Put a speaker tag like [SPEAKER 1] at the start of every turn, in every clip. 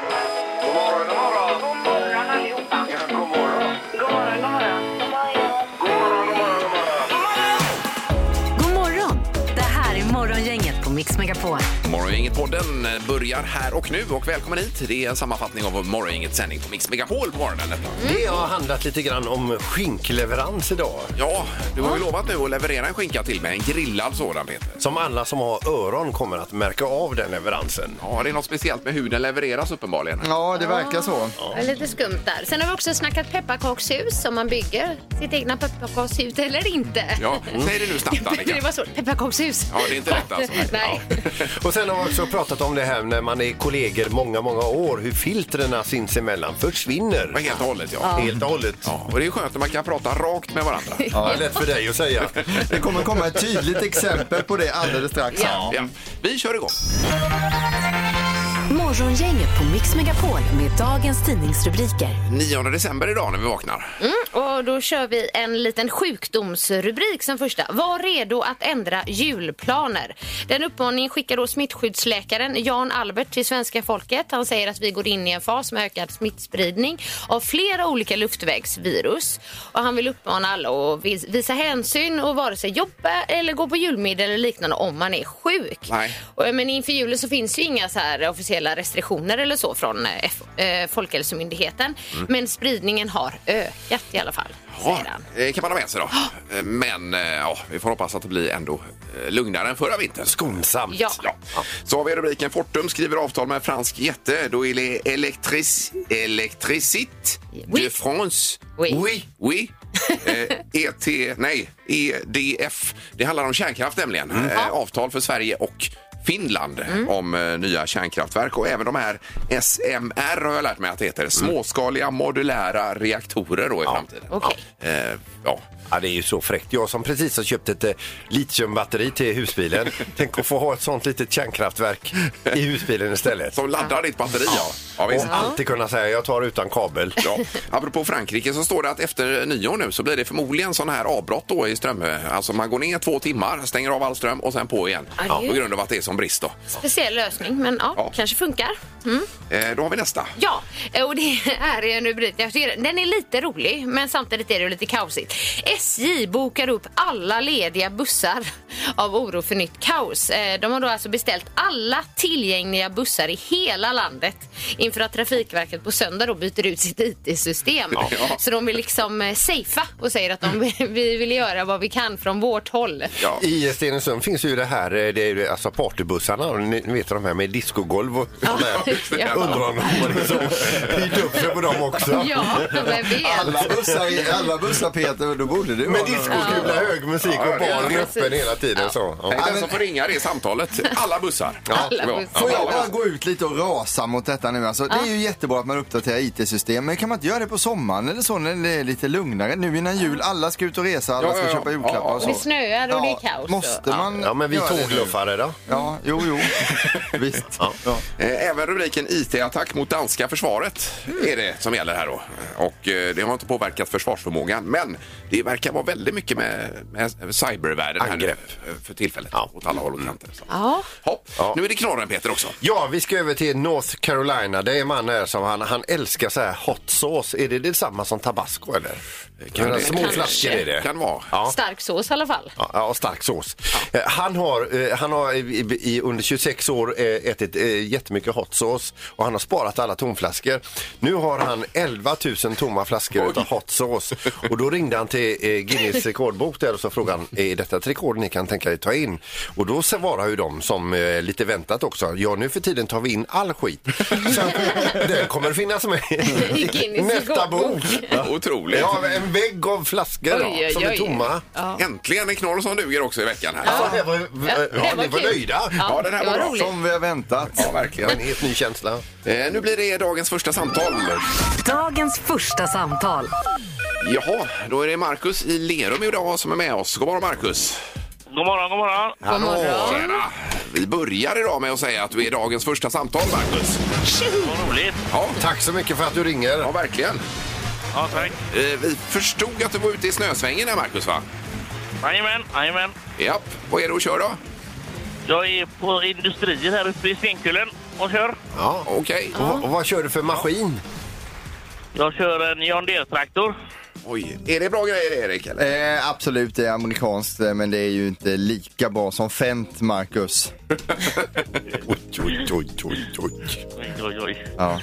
[SPEAKER 1] God morgon, god morgon.
[SPEAKER 2] God morgon allihopa.
[SPEAKER 1] Ja, god morgon.
[SPEAKER 2] God morgon, god morgon.
[SPEAKER 1] God morgon, god morgon, god morgon.
[SPEAKER 3] God morgon! Det här är Morgongänget på Mix Megapol.
[SPEAKER 4] Morgongänget-podden börjar här och nu och välkommen hit. Det är en sammanfattning av Morgongängets sändning på Mix Megapol på morgonen. detta.
[SPEAKER 5] Det har handlat lite grann om skinkleverans idag.
[SPEAKER 4] Ja, du har ju lovat nu att leverera en skinka till mig, en grillad sådan Peter.
[SPEAKER 5] Som alla som har öron kommer att märka av den leveransen.
[SPEAKER 4] Ja, det är något speciellt med hur den levereras uppenbarligen.
[SPEAKER 6] Ja, det verkar så.
[SPEAKER 7] Det är Lite skumt där. Sen har vi också snackat pepparkakshus, om man bygger sitt egna pepparkakshus eller inte.
[SPEAKER 4] Ja, säg det nu snabbt
[SPEAKER 7] det
[SPEAKER 4] Annika.
[SPEAKER 7] var svårt. Pepparkakshus.
[SPEAKER 4] Ja, det är inte lätt alltså.
[SPEAKER 7] Nej.
[SPEAKER 5] Och sen har vi också pratat om det här när man är kollegor många, många år, hur filtren sinsemellan försvinner.
[SPEAKER 4] Ja, helt och hållet ja.
[SPEAKER 5] Helt och hållet.
[SPEAKER 4] ja. Och det är skönt när man kan prata rakt med varandra.
[SPEAKER 5] Ja, lätt för dig att säga.
[SPEAKER 6] Det kommer komma ett tydligt exempel på det alldeles strax.
[SPEAKER 7] Ja.
[SPEAKER 4] Ja, vi kör igång.
[SPEAKER 3] Morgongänget på Mix Megapol med dagens tidningsrubriker.
[SPEAKER 4] 9 december idag när vi vaknar.
[SPEAKER 7] Mm, Och då kör vi en liten sjukdomsrubrik som första. Var redo att ändra julplaner. Den uppmaningen skickar då smittskyddsläkaren Jan Albert till svenska folket. Han säger att vi går in i en fas med ökad smittspridning av flera olika luftvägsvirus. Och han vill uppmana alla att vis- visa hänsyn och vare sig jobba eller gå på julmiddag eller liknande om man är sjuk.
[SPEAKER 4] Nej.
[SPEAKER 7] Och, eh, Men inför julen så finns ju inga så här officiella restriktioner eller så från eh, F- eh, Folkhälsomyndigheten. Men spridningen har ökat i alla fall, säger han.
[SPEAKER 4] det kan man ha med sig då. Eh, Men eh, ja, vi får hoppas att det blir ändå eh, lugnare än förra vintern.
[SPEAKER 5] Skonsamt.
[SPEAKER 7] Ja.
[SPEAKER 4] Ja. Så har vi rubriken Fortum skriver avtal med en fransk jätte. Då är det elektris, Electricit
[SPEAKER 7] Oui.
[SPEAKER 4] de France.
[SPEAKER 7] Oui.
[SPEAKER 4] Oui. oui. eh, ET, nej, EDF. Det handlar om kärnkraft nämligen.
[SPEAKER 7] Mm.
[SPEAKER 4] Eh, avtal för Sverige och Finland om eh, nya kärnkraftverk och även de här SMR har jag lärt mig att det
[SPEAKER 7] Mm.
[SPEAKER 4] heter. Småskaliga modulära reaktorer då i framtiden.
[SPEAKER 7] Okej.
[SPEAKER 4] Eh, ja.
[SPEAKER 5] Ja, det är ju så fräckt. Jag som precis har köpt ett eh, litiumbatteri till husbilen. Tänk att få ha ett sånt litet kärnkraftverk i husbilen istället.
[SPEAKER 4] Som laddar ditt batteri ja. ja
[SPEAKER 5] Och
[SPEAKER 4] visst.
[SPEAKER 5] alltid kunna säga jag tar utan kabel.
[SPEAKER 4] Ja. Apropå Frankrike så står det att efter nyår nu så blir det förmodligen sådana här avbrott då i ström. Alltså man går ner två timmar, stänger av all ström och sen på igen.
[SPEAKER 7] Ja.
[SPEAKER 4] På grund av att det är som brist då.
[SPEAKER 7] Speciell lösning, men ja,
[SPEAKER 4] Ja.
[SPEAKER 7] kanske funkar. Mm.
[SPEAKER 4] Eh, då har vi nästa.
[SPEAKER 7] Ja, eh, och det här är en rubrik. jag tycker Den är lite rolig, men samtidigt är det lite kaosigt. SJ bokar upp alla lediga bussar av oro för nytt kaos. Eh, De har då alltså beställt alla tillgängliga bussar i hela landet inför att Trafikverket på söndag då byter ut sitt IT-system.
[SPEAKER 4] Ja. Mm.
[SPEAKER 7] Så de vill liksom eh, safea och säger att de, vi vill göra vad vi kan från vårt håll.
[SPEAKER 4] Ja.
[SPEAKER 5] I Stenungsund finns ju det här, eh, det är ju alltså partybussarna, ni vet de här med discogolv och sådana här.
[SPEAKER 7] Ja.
[SPEAKER 5] Undrar om de liksom hyrt upp sig på dem också.
[SPEAKER 7] Ja, vem vet?
[SPEAKER 6] Alla bussar, i- alla bussar Peter, då borde du
[SPEAKER 5] Med
[SPEAKER 6] ha några.
[SPEAKER 5] discoskula, hög musik
[SPEAKER 4] Ja,
[SPEAKER 5] och
[SPEAKER 4] det är
[SPEAKER 5] barn
[SPEAKER 7] precis.
[SPEAKER 5] öppen hela tiden. Så.
[SPEAKER 4] Tänk
[SPEAKER 5] Ja.
[SPEAKER 4] den som får ringa det samtalet. Alla bussar.
[SPEAKER 7] Alla
[SPEAKER 4] Ja.
[SPEAKER 7] bussar.
[SPEAKER 6] Får jag bara gå ut lite och rasa mot detta nu? Alltså, Det är ju jättebra att man uppdaterar IT-system, men kan man inte göra det på sommaren eller så när det är lite lugnare? Nu innan jul, alla ska ut och resa, alla
[SPEAKER 4] Ja,
[SPEAKER 6] ska
[SPEAKER 4] ja, ja.
[SPEAKER 6] köpa julklappar och så.
[SPEAKER 7] Det snöar och det är kaos.
[SPEAKER 6] Måste
[SPEAKER 7] och-
[SPEAKER 6] man
[SPEAKER 5] ja, men vi
[SPEAKER 6] göra det nu?
[SPEAKER 5] tågluffare då?
[SPEAKER 6] Ja, jo, jo. Visst. Ja.
[SPEAKER 4] Eh, Även rubriken IT-attack mot danska försvaret är det som gäller här då. Och eh, det har inte påverkat försvarsförmågan men det verkar vara väldigt mycket med, med cybervärlden här nu,
[SPEAKER 5] Angrepp.
[SPEAKER 4] eh, för tillfället.
[SPEAKER 5] Ja.
[SPEAKER 4] Åt alla håll och kanter. så.
[SPEAKER 7] Mm. Ja.
[SPEAKER 4] Hopp.
[SPEAKER 5] Ja.
[SPEAKER 4] Nu är det knorren Peter också.
[SPEAKER 5] Ja, vi ska över till North Carolina. Det är en man här som han, han älskar så här hot sauce. Är det detsamma som tabasco eller?
[SPEAKER 4] kan det-
[SPEAKER 5] små
[SPEAKER 4] kanske.
[SPEAKER 5] flaskor är det.
[SPEAKER 4] Kan vara.
[SPEAKER 5] Ja.
[SPEAKER 7] Stark sås i alla fall.
[SPEAKER 5] Ja, Ja, och stark sås. Eh, Han har, eh, han har i- i- i, under 26 år eh, ätit eh, jättemycket hot sauce och han har sparat alla tomflaskor. Nu har han 11 000 tomma flaskor utav hot sauce. Och då ringde han till eh, Guinness rekordbok där och så frågade han, är detta ett rekord ni kan tänka er ta in? Och då svarar ju de som eh, lite väntat också, ja nu för tiden tar vi in all skit. Så den kommer finnas med
[SPEAKER 7] I Guinness
[SPEAKER 5] nästa bok.
[SPEAKER 7] rekordbok.
[SPEAKER 4] Otroligt.
[SPEAKER 5] Ja, en vägg av flaskor
[SPEAKER 7] Oj, oj,
[SPEAKER 5] som är
[SPEAKER 7] oj.
[SPEAKER 5] tomma.
[SPEAKER 4] Äntligen en knorr som duger också i veckan här.
[SPEAKER 5] Ja, Alltså, det var,
[SPEAKER 7] det
[SPEAKER 5] ja,
[SPEAKER 7] var
[SPEAKER 5] ni var
[SPEAKER 7] kul.
[SPEAKER 5] nöjda.
[SPEAKER 7] Ja,
[SPEAKER 4] den här
[SPEAKER 7] det
[SPEAKER 4] var
[SPEAKER 7] var
[SPEAKER 4] bra.
[SPEAKER 7] roligt.
[SPEAKER 6] Som vi har väntat.
[SPEAKER 4] Ja, verkligen.
[SPEAKER 5] En helt ny känsla.
[SPEAKER 4] Eh, nu blir det dagens första samtal.
[SPEAKER 3] Dagens första samtal.
[SPEAKER 4] Jaha, då är det Markus i Lerum idag som är med oss. God morgon Markus.
[SPEAKER 8] God morgon, god morgon.
[SPEAKER 7] God morgon.
[SPEAKER 4] Tjena. Vi börjar idag med att säga att du är dagens första samtal Markus.
[SPEAKER 8] Vad roligt.
[SPEAKER 4] Ja,
[SPEAKER 5] Tack så mycket för att du
[SPEAKER 4] ja
[SPEAKER 5] ringer.
[SPEAKER 4] verkligen.
[SPEAKER 8] Ja, tack.
[SPEAKER 4] Eh, vi förstod att du var ute i snösvängen här Markus va?
[SPEAKER 8] Jajamän, jajamän.
[SPEAKER 4] Japp, vad är det att köra?
[SPEAKER 8] Jag är på industrier här uppe i Stenkullen. och kör.
[SPEAKER 5] Ja.
[SPEAKER 4] Okej.
[SPEAKER 5] Och, och vad kör du för maskin?
[SPEAKER 8] Jag kör en John Deere-traktor.
[SPEAKER 4] Oj. Är det bra grejer, Erik? Eller?
[SPEAKER 6] Eh, absolut, det är amerikanskt eh, men det är ju inte lika bra som Fent, Marcus.
[SPEAKER 5] Oj, oj, oj, oj, oj.
[SPEAKER 8] Oj, oj, oj.
[SPEAKER 6] Ja.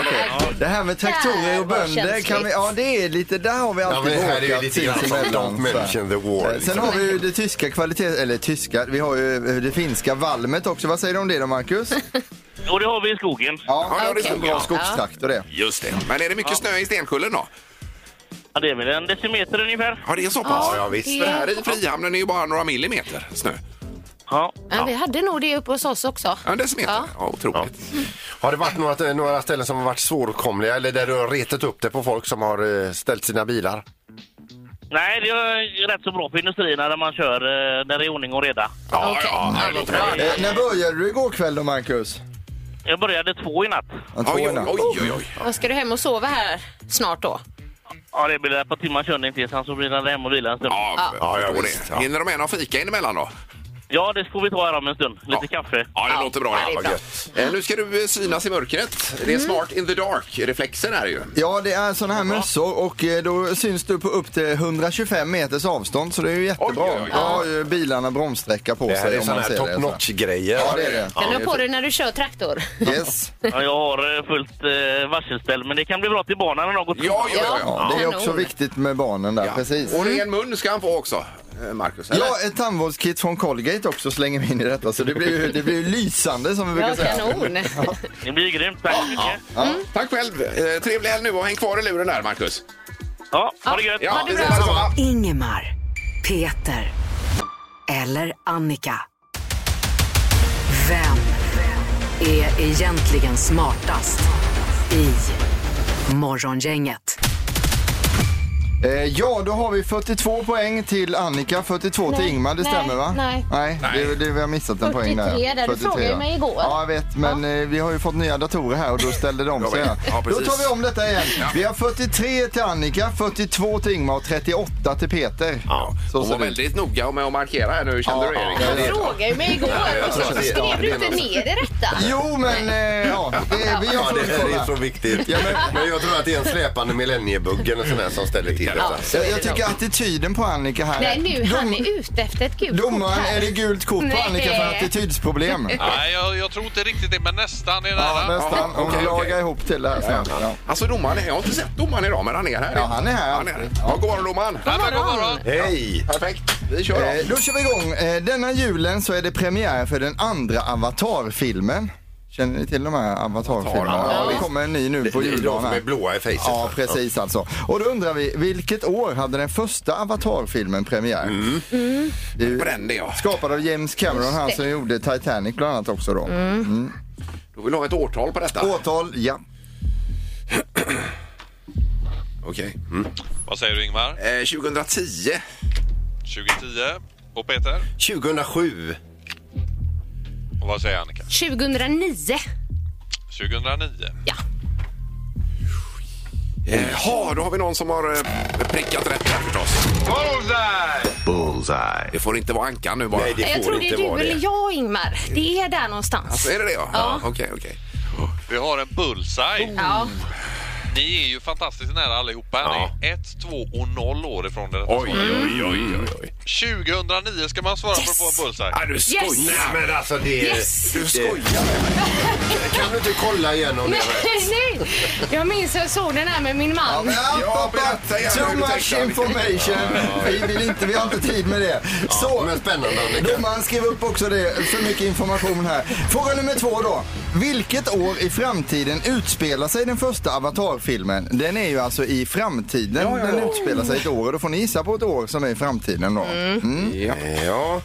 [SPEAKER 6] Okej. Det här med traktorer och
[SPEAKER 7] Där var
[SPEAKER 6] bönder, kan vi,
[SPEAKER 7] känsligt.
[SPEAKER 6] ja det är lite, där har vi
[SPEAKER 5] Ja,
[SPEAKER 6] alltid
[SPEAKER 5] men här är ju lite grann som Don't
[SPEAKER 6] sinsemellan, så här.
[SPEAKER 5] mention the war.
[SPEAKER 6] Eh, Sen
[SPEAKER 5] Liksom.
[SPEAKER 6] har vi ju det tyska kvalitet, eller tyska, vi har ju eh, det finska valmet också. Vad säger du om det då Marcus?
[SPEAKER 8] Och det har vi i skogen.
[SPEAKER 4] Ja, det har det
[SPEAKER 7] Okej.
[SPEAKER 4] som
[SPEAKER 6] Bra
[SPEAKER 4] bra skog.
[SPEAKER 6] skogstraktor det.
[SPEAKER 4] Just det. Men är det mycket snö i Stenkullen då?
[SPEAKER 8] Ja, det är väl en decimeter ungefär.
[SPEAKER 4] Ja, det är så pass?
[SPEAKER 5] Ja, ja, visst.
[SPEAKER 4] För här i Frihamnen är ju bara några millimeter snö.
[SPEAKER 8] Ja.
[SPEAKER 7] Ja, vi hade nog det uppe hos oss också.
[SPEAKER 4] Ja, En decimeter. Ja,
[SPEAKER 7] Ja.
[SPEAKER 4] otroligt.
[SPEAKER 5] Har det varit några, några ställen som har varit svåråtkomliga eller där du har retat upp det på folk som har eh, ställt sina bilar?
[SPEAKER 8] Nej, det är rätt så bra för industrierna när man kör eh, när det är ordning och reda.
[SPEAKER 4] Ja,
[SPEAKER 7] Okej.
[SPEAKER 4] ja,
[SPEAKER 7] Ja,
[SPEAKER 4] det
[SPEAKER 7] vad
[SPEAKER 4] låter
[SPEAKER 7] bra.
[SPEAKER 4] bra.
[SPEAKER 6] Eh, när började du igår kväll då Marcus?
[SPEAKER 8] Jag började två i natt.
[SPEAKER 6] Ja,
[SPEAKER 4] Oj,
[SPEAKER 6] tvåorna.
[SPEAKER 4] oj, oj, oj.
[SPEAKER 7] Vad Ska du hem och sova här snart då?
[SPEAKER 8] Ja, det blir ett par timmar körning till, sen så blir det hem och vila en stund. Ja,
[SPEAKER 4] Ja, ja,
[SPEAKER 5] Ja, ja,
[SPEAKER 4] jag
[SPEAKER 5] visst, ja.
[SPEAKER 4] det. Hinner de med någon fika in emellan då?
[SPEAKER 8] det får vi ta här om en stund. Lite kaffe.
[SPEAKER 4] Ja, det låter bra.
[SPEAKER 7] ja, det är
[SPEAKER 4] Vad
[SPEAKER 7] bra.
[SPEAKER 4] gött. Eh, Nu ska du eh, synas i mörkret. Det är smart in the dark-reflexen här ju.
[SPEAKER 6] Ja, det är sådana här mössor och eh, då syns du på upp till 125 meters avstånd så det är ju jättebra.
[SPEAKER 4] Oj, oj, oj.
[SPEAKER 6] Då har ju bilarna bromssträcka på
[SPEAKER 5] Det här
[SPEAKER 6] sig
[SPEAKER 5] är
[SPEAKER 6] om man
[SPEAKER 5] sådana
[SPEAKER 6] ser
[SPEAKER 5] här
[SPEAKER 6] det.
[SPEAKER 5] top notch-grejer.
[SPEAKER 6] Ja, det är det.
[SPEAKER 7] Den har på dig när du kör traktor.
[SPEAKER 6] Yes.
[SPEAKER 8] Ja, jag har eh, fullt eh, varselställ, men det kan bli bra till banan när de går
[SPEAKER 4] Ja, ja, ja. ja.
[SPEAKER 6] Ja, det är också
[SPEAKER 7] Kanon.
[SPEAKER 6] viktigt med barnen där,
[SPEAKER 4] Ja.
[SPEAKER 6] precis.
[SPEAKER 4] Och ren mun ska han få också, eh, Marcus. eller?
[SPEAKER 6] Ja, ett tandvårdskit från Colgate också slänger vi in i detta så det blir ju, det blir ju lysande som vi brukar
[SPEAKER 7] Ja,
[SPEAKER 6] säga.
[SPEAKER 7] kanon.
[SPEAKER 8] Det blir grymt. Tack så mycket.
[SPEAKER 4] Tack själv. Eh, Trevlig helg nu och häng kvar i luren där, Marcus.
[SPEAKER 8] Ja, ha det gött.
[SPEAKER 4] Ja,
[SPEAKER 7] Ha det bra.
[SPEAKER 4] detsamma.
[SPEAKER 3] Ingemar, Peter eller Annika. Vem är egentligen smartast i Morgongänget?
[SPEAKER 6] Eh, ja, då har vi 42 poäng till Annika, 42 till
[SPEAKER 7] Nej,
[SPEAKER 6] Ingmar, det
[SPEAKER 7] nej,
[SPEAKER 6] stämmer va?
[SPEAKER 7] nej.
[SPEAKER 6] nej. Det, det, vi har missat en poäng där.
[SPEAKER 7] 43 där, du frågade
[SPEAKER 6] ja.
[SPEAKER 7] mig igår.
[SPEAKER 6] Ja, jag vet, men eh, vi har ju fått nya datorer här och då ställde de om sig.
[SPEAKER 4] Ja,
[SPEAKER 6] här.
[SPEAKER 4] ja,
[SPEAKER 6] då
[SPEAKER 4] precis.
[SPEAKER 6] tar vi om detta igen. Vi har 43 till Annika, 42 till Ingmar och 38 till Peter.
[SPEAKER 5] Ja.
[SPEAKER 6] Så
[SPEAKER 4] Hon var
[SPEAKER 6] ser det ut.
[SPEAKER 4] väldigt noga med att markera här nu, kände
[SPEAKER 6] Ja,
[SPEAKER 4] du Erik?
[SPEAKER 6] ja,
[SPEAKER 7] Du
[SPEAKER 6] ja.
[SPEAKER 7] frågade ju mig igår och så skrev du inte ner det rätta.
[SPEAKER 6] Jo, men eh, ja, det, vi har
[SPEAKER 5] Ja, det
[SPEAKER 6] fullt
[SPEAKER 5] här är
[SPEAKER 6] koll
[SPEAKER 5] så
[SPEAKER 6] här.
[SPEAKER 5] viktigt.
[SPEAKER 6] Ja, men-
[SPEAKER 5] Men jag tror att det är en släpande millenniebugg eller sån här som ställer till detta.
[SPEAKER 7] så är det
[SPEAKER 6] Jag, jag
[SPEAKER 7] nog.
[SPEAKER 6] tycker attityden på Annika här...
[SPEAKER 7] Nej, nu han
[SPEAKER 6] Dom-
[SPEAKER 7] är ute efter ett gult kort
[SPEAKER 6] Domaren,
[SPEAKER 7] här.
[SPEAKER 6] är det gult kort på
[SPEAKER 7] Nej.
[SPEAKER 6] Annika för attitydsproblem?
[SPEAKER 9] Nej, jag, jag tror inte riktigt det, men nästan. Det är nära.
[SPEAKER 6] Ja, nästan.
[SPEAKER 4] Ja,
[SPEAKER 6] Hon
[SPEAKER 4] okej,
[SPEAKER 6] lagar
[SPEAKER 4] okej.
[SPEAKER 6] ihop till det här snart. Ja.
[SPEAKER 4] Alltså domaren, är- jag har inte sett domaren idag, men han är här.
[SPEAKER 6] Ja, han är här.
[SPEAKER 4] Han är här. Ja, god morgon domaren.
[SPEAKER 9] Nej, men god morgon.
[SPEAKER 5] Hej!
[SPEAKER 4] Perfekt, vi kör
[SPEAKER 6] Eh,
[SPEAKER 4] då.
[SPEAKER 6] Då kör vi igång. Eh, Denna julen så är det premiär för den andra Avatar-filmen. Känner ni till de här Avatar-filmerna?
[SPEAKER 4] Avatar, ja.
[SPEAKER 6] Ja, det kommer en ny nu på
[SPEAKER 5] Det är de
[SPEAKER 6] juldagen.
[SPEAKER 5] som är
[SPEAKER 6] här.
[SPEAKER 5] blåa i fejset.
[SPEAKER 6] Ja, precis alltså. Och då undrar vi, vilket år hade den första Avatar-filmen premiär? Det är ju
[SPEAKER 4] På den det ja.
[SPEAKER 6] Skapad av James Cameron, han som gjorde Titanic bland annat också då.
[SPEAKER 7] Mm.
[SPEAKER 4] Du vill ha ett årtal på detta?
[SPEAKER 6] Årtal, ja.
[SPEAKER 4] Okej.
[SPEAKER 6] Mm.
[SPEAKER 9] Vad säger du Ingmar?
[SPEAKER 4] Eh, 2010.
[SPEAKER 9] 2010. Och Peter?
[SPEAKER 5] 2007.
[SPEAKER 9] Och vad säger Annika?
[SPEAKER 7] 2009.
[SPEAKER 9] 2009.
[SPEAKER 7] Ja.
[SPEAKER 4] Jaha, Eh, då har vi någon som har eh, prickat rätt här förstås.
[SPEAKER 5] Bullseye.
[SPEAKER 4] Det får inte vara Ankan nu bara.
[SPEAKER 5] Nej, det
[SPEAKER 7] Jag
[SPEAKER 5] får
[SPEAKER 7] tror det
[SPEAKER 5] inte
[SPEAKER 7] är du
[SPEAKER 5] vara
[SPEAKER 7] eller
[SPEAKER 5] det.
[SPEAKER 7] jag, Ingmar. Det är där någonstans.
[SPEAKER 4] Alltså, är det det ja?
[SPEAKER 7] Ja.
[SPEAKER 4] Okej, okej.
[SPEAKER 9] Vi har en bullseye.
[SPEAKER 7] Ja,
[SPEAKER 9] Ni är ju fantastiskt nära allihopa. Ni är ett, två och noll år ifrån det rätta
[SPEAKER 4] Oj, oj, oj, oj, oj.
[SPEAKER 9] svaret. 2009 ska man svara för att få en bullseye.
[SPEAKER 4] Ah, du skojar!
[SPEAKER 7] Yes!
[SPEAKER 5] Nej, men alltså det...
[SPEAKER 7] yes!
[SPEAKER 4] Du skojar!
[SPEAKER 5] Kan du inte kolla igenom det?
[SPEAKER 7] Nej, jag minns jag såg den här med min man.
[SPEAKER 4] Ja, berätta gärna
[SPEAKER 6] Too
[SPEAKER 4] hur du
[SPEAKER 6] much
[SPEAKER 4] tänkte, Annika.
[SPEAKER 6] information. Vi vill inte, vi har inte tid med det.
[SPEAKER 5] Ja,
[SPEAKER 6] Så,
[SPEAKER 5] men spännande Annika.
[SPEAKER 6] domaren skrev upp också det, för mycket information här. Fråga nummer två då. Vilket år i framtiden utspelar sig den första Avatar-filmen? Den är ju alltså i framtiden. Den utspelar sig ett år och då får ni gissa på ett år som är i framtiden då. Mm.
[SPEAKER 5] Ja.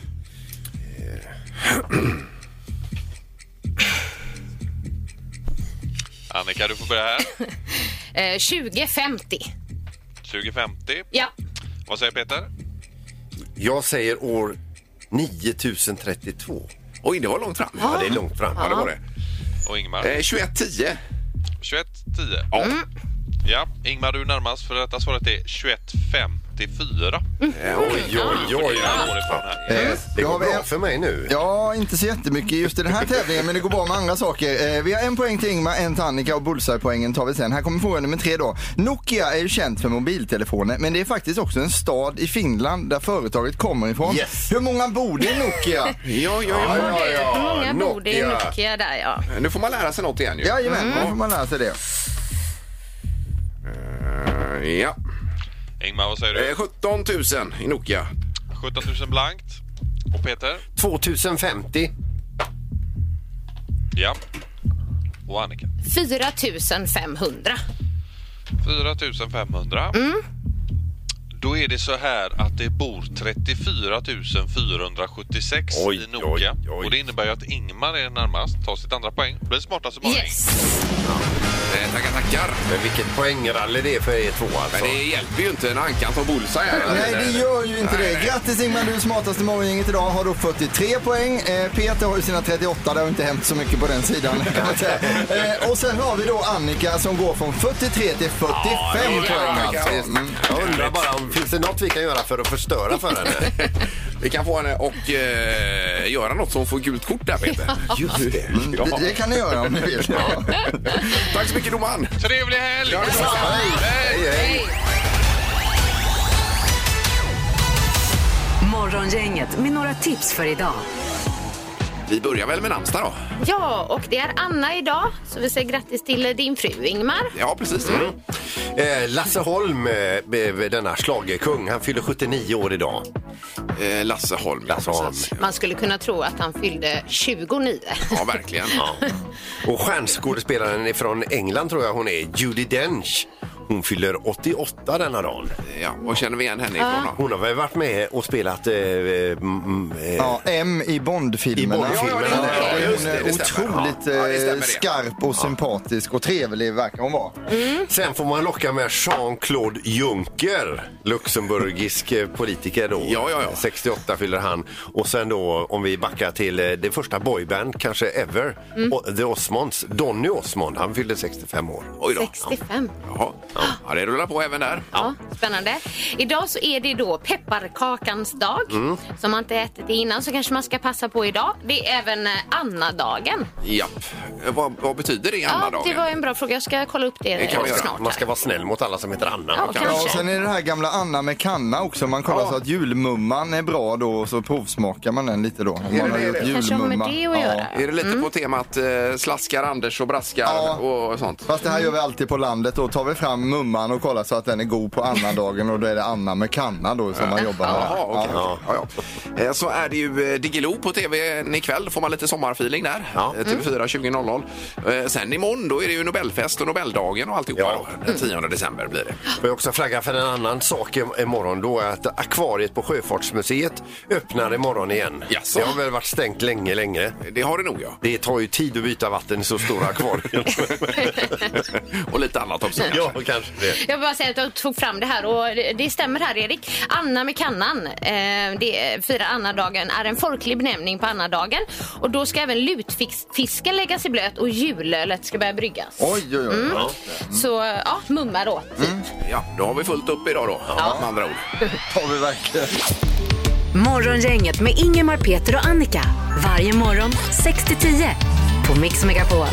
[SPEAKER 9] Annika, du får börja här.
[SPEAKER 7] Eh, 2050.
[SPEAKER 9] 2050.
[SPEAKER 7] Ja,
[SPEAKER 9] Vad säger Peter?
[SPEAKER 5] Jag säger år 9032.
[SPEAKER 4] Oj, det var långt fram.
[SPEAKER 5] Ja, det är långt fram.
[SPEAKER 4] Ja, det var det.
[SPEAKER 9] Och Ingmar?
[SPEAKER 4] Eh, Mm. 21.10.
[SPEAKER 9] 2110.
[SPEAKER 4] Ja.
[SPEAKER 9] Ja, Ingmar du är närmast för detta svaret är 2150. 84.
[SPEAKER 5] Eh, Oj, oj, oj.
[SPEAKER 9] Jag går ifrån här.
[SPEAKER 4] Mm.
[SPEAKER 6] Eh,
[SPEAKER 5] Det
[SPEAKER 6] då
[SPEAKER 5] går
[SPEAKER 6] har vi
[SPEAKER 5] bra
[SPEAKER 6] en-
[SPEAKER 5] för mig nu.
[SPEAKER 6] Ja, inte så jättemycket just i den här tävlingen, men det går bra med andra saker. Eh, vi har en poäng till Ingmar, en till Annika och bullseye-poängen tar vi sen. Här kommer fråga nummer tre då. Nokia är ju känt för mobiltelefoner, men det är faktiskt också en stad i Finland där företaget kommer ifrån.
[SPEAKER 5] Yes.
[SPEAKER 6] Hur många bor det i Nokia?
[SPEAKER 4] Ja, ja, ja. Eh,
[SPEAKER 7] Ja,
[SPEAKER 5] ja,
[SPEAKER 7] Många bor det i
[SPEAKER 5] Nokia.
[SPEAKER 7] Nokia där ja.
[SPEAKER 4] Nu får man lära sig något igen ju.
[SPEAKER 6] Jajamän, mm. får man lära sig det.
[SPEAKER 4] Eh, ja.
[SPEAKER 9] Ingmar, vad säger
[SPEAKER 4] Eh,
[SPEAKER 9] du?
[SPEAKER 4] 17 000 i Nokia.
[SPEAKER 9] 17 000 blankt. Och Peter?
[SPEAKER 5] 2050.
[SPEAKER 9] Ja. Och Annika?
[SPEAKER 7] 4 500.
[SPEAKER 9] 4 500. Då är det så här att det bor 34 476
[SPEAKER 5] Oj,
[SPEAKER 9] i Nokia.
[SPEAKER 5] oj, oj.
[SPEAKER 9] Och det innebär ju att Ingmar är närmast, tar sitt andra poäng, blir smartast som morgon.
[SPEAKER 7] Yes.
[SPEAKER 4] Eh, tackar, tackar.
[SPEAKER 5] Men vilket poängrally det är för er två alltså.
[SPEAKER 4] Men det hjälper ju inte när Ankan tar bullseye här.
[SPEAKER 6] Nej, det gör ju inte det. Grattis Ingmar, du är smartaste morgongänget idag. Har då 43 poäng. Eh, Peter har ju sina 38, det har inte hänt så mycket på den sidan. kan man säga. Eh, och sen har vi då Annika som går från 43 till 45 poäng. Alltså. Mm.
[SPEAKER 5] Jag undrar bara om finns det något vi kan göra för att förstöra för henne?
[SPEAKER 4] Vi kan få henne och eh, göra något som får gult kort där, Peter. Just det. Ja.
[SPEAKER 6] Det, det kan ni göra om ni vill. Ja.
[SPEAKER 4] Tack så mycket, domaren.
[SPEAKER 9] Trevlig helg!
[SPEAKER 5] Hej, hej.
[SPEAKER 3] Morgongänget med några tips för idag.
[SPEAKER 4] Vi börjar väl med namnsdag då?
[SPEAKER 7] Ja, och det är Anna idag. Så vi säger grattis till din fru Ingmar.
[SPEAKER 4] Ja, precis.
[SPEAKER 5] Eh, Lasse Holm, eh, blev denna schlagerkung, han fyller 79 år idag.
[SPEAKER 4] Eh, Lasse Holm.
[SPEAKER 5] Lasse Holm.
[SPEAKER 7] Man skulle kunna tro att han fyllde 29.
[SPEAKER 4] Ja, verkligen.
[SPEAKER 5] Och stjärnskådespelaren från England tror jag hon är, Judi Dench. Hon fyller 88 denna dagen.
[SPEAKER 4] Eh, Ja, och känner vi igen henne ifrån då?
[SPEAKER 5] Hon har väl varit med och spelat eh, mm, mm, eh,
[SPEAKER 6] Ja, M i Bond-filmerna.
[SPEAKER 5] I Bond-filmerna.
[SPEAKER 6] Ja,
[SPEAKER 5] Ja,
[SPEAKER 6] hon
[SPEAKER 4] just det,
[SPEAKER 6] är
[SPEAKER 4] det stämmer.
[SPEAKER 6] otroligt
[SPEAKER 4] Ja, det stämmer
[SPEAKER 6] eh,
[SPEAKER 4] det.
[SPEAKER 6] skarp och sympatisk och trevlig verkar hon vara.
[SPEAKER 5] Sen får man locka med Jean-Claude Juncker, luxemburgisk eh, politiker då.
[SPEAKER 4] Ja, ja, ja.
[SPEAKER 5] 68 fyller han. Och sen då om vi backar till eh, det första boyband kanske ever,
[SPEAKER 7] Mm.
[SPEAKER 5] O- The Osmonds. Donny Osmond, han fyllde 65 år.
[SPEAKER 4] Oj då.
[SPEAKER 7] 65.
[SPEAKER 4] Jaha. Ja, det rullar på även där.
[SPEAKER 7] Ja, spännande. Idag så är det då pepparkakans dag. Som man inte ätit det innan så kanske man ska passa på idag. Det är även eh, Anna-dagen.
[SPEAKER 4] Japp. Eh, Vad, vad betyder det, Anna?
[SPEAKER 7] Ja, det var en bra fråga. Jag ska kolla upp det,
[SPEAKER 4] Det kan vi
[SPEAKER 7] eh,
[SPEAKER 4] göra.
[SPEAKER 7] snart.
[SPEAKER 5] Man ska
[SPEAKER 7] här.
[SPEAKER 5] vara snäll mot alla som heter Anna.
[SPEAKER 7] Ja,
[SPEAKER 5] Kan-
[SPEAKER 6] Ja,
[SPEAKER 7] Kanske.
[SPEAKER 6] och sen är det här gamla Anna med kanna också. Man kollar så att julmumman är bra då och så provsmakar man den lite då. Om Man har
[SPEAKER 4] det-
[SPEAKER 6] gjort
[SPEAKER 4] det-
[SPEAKER 7] Kanske har med
[SPEAKER 6] julmumma.
[SPEAKER 7] det att göra.
[SPEAKER 4] Är det lite på temat eh, slaskar Anders och braskar
[SPEAKER 6] Ja.
[SPEAKER 4] och sånt?
[SPEAKER 6] Fast det här gör vi alltid på landet. Då tar vi fram mumman och kollar så att den är god på Anna-dagen och då är det Anna med kanna då som man jobbar med.
[SPEAKER 4] Jaha, okej.
[SPEAKER 6] Ja.
[SPEAKER 4] okej. Ja. Ja, Eh, Så är det ju eh, Diggiloo på tv ikväll. Får man lite sommarfeeling där.
[SPEAKER 5] Ja.
[SPEAKER 4] Eh, TV4 20.00. Eh, Sen imorgon då är det ju Nobelfest och Nobeldagen och alltihopa.
[SPEAKER 5] Ja.
[SPEAKER 4] då. Eh, Den 10 december blir det.
[SPEAKER 5] Får jag också flagga för en annan sak im- imorgon då är att akvariet på Sjöfartsmuseet öppnar imorgon igen.
[SPEAKER 4] Jaså?
[SPEAKER 5] Det har väl varit stängt länge, länge.
[SPEAKER 4] Det har det nog ja.
[SPEAKER 5] Det tar ju tid att byta vatten i så stora akvarier.
[SPEAKER 4] Och lite annat också.
[SPEAKER 5] ja, kanske det.
[SPEAKER 7] Jag vill bara säga att jag tog fram det här och det- det stämmer här Erik. Anna med kannan, eh, det firar Anna-dagen, är en folklig benämning på Anna-dagen. Och då ska även lutfisken läggas i blöt och julölet ska börja bryggas.
[SPEAKER 6] Oj, oj, oj.
[SPEAKER 7] Mm. Så ja, mumma då.
[SPEAKER 4] Ja, då har vi fullt upp idag då. Med andra ord.
[SPEAKER 6] tar vi verkligen.
[SPEAKER 3] Morgongänget med Ingemar, Peter och Annika. Varje morgon 6 till 10 på Mix Megapol.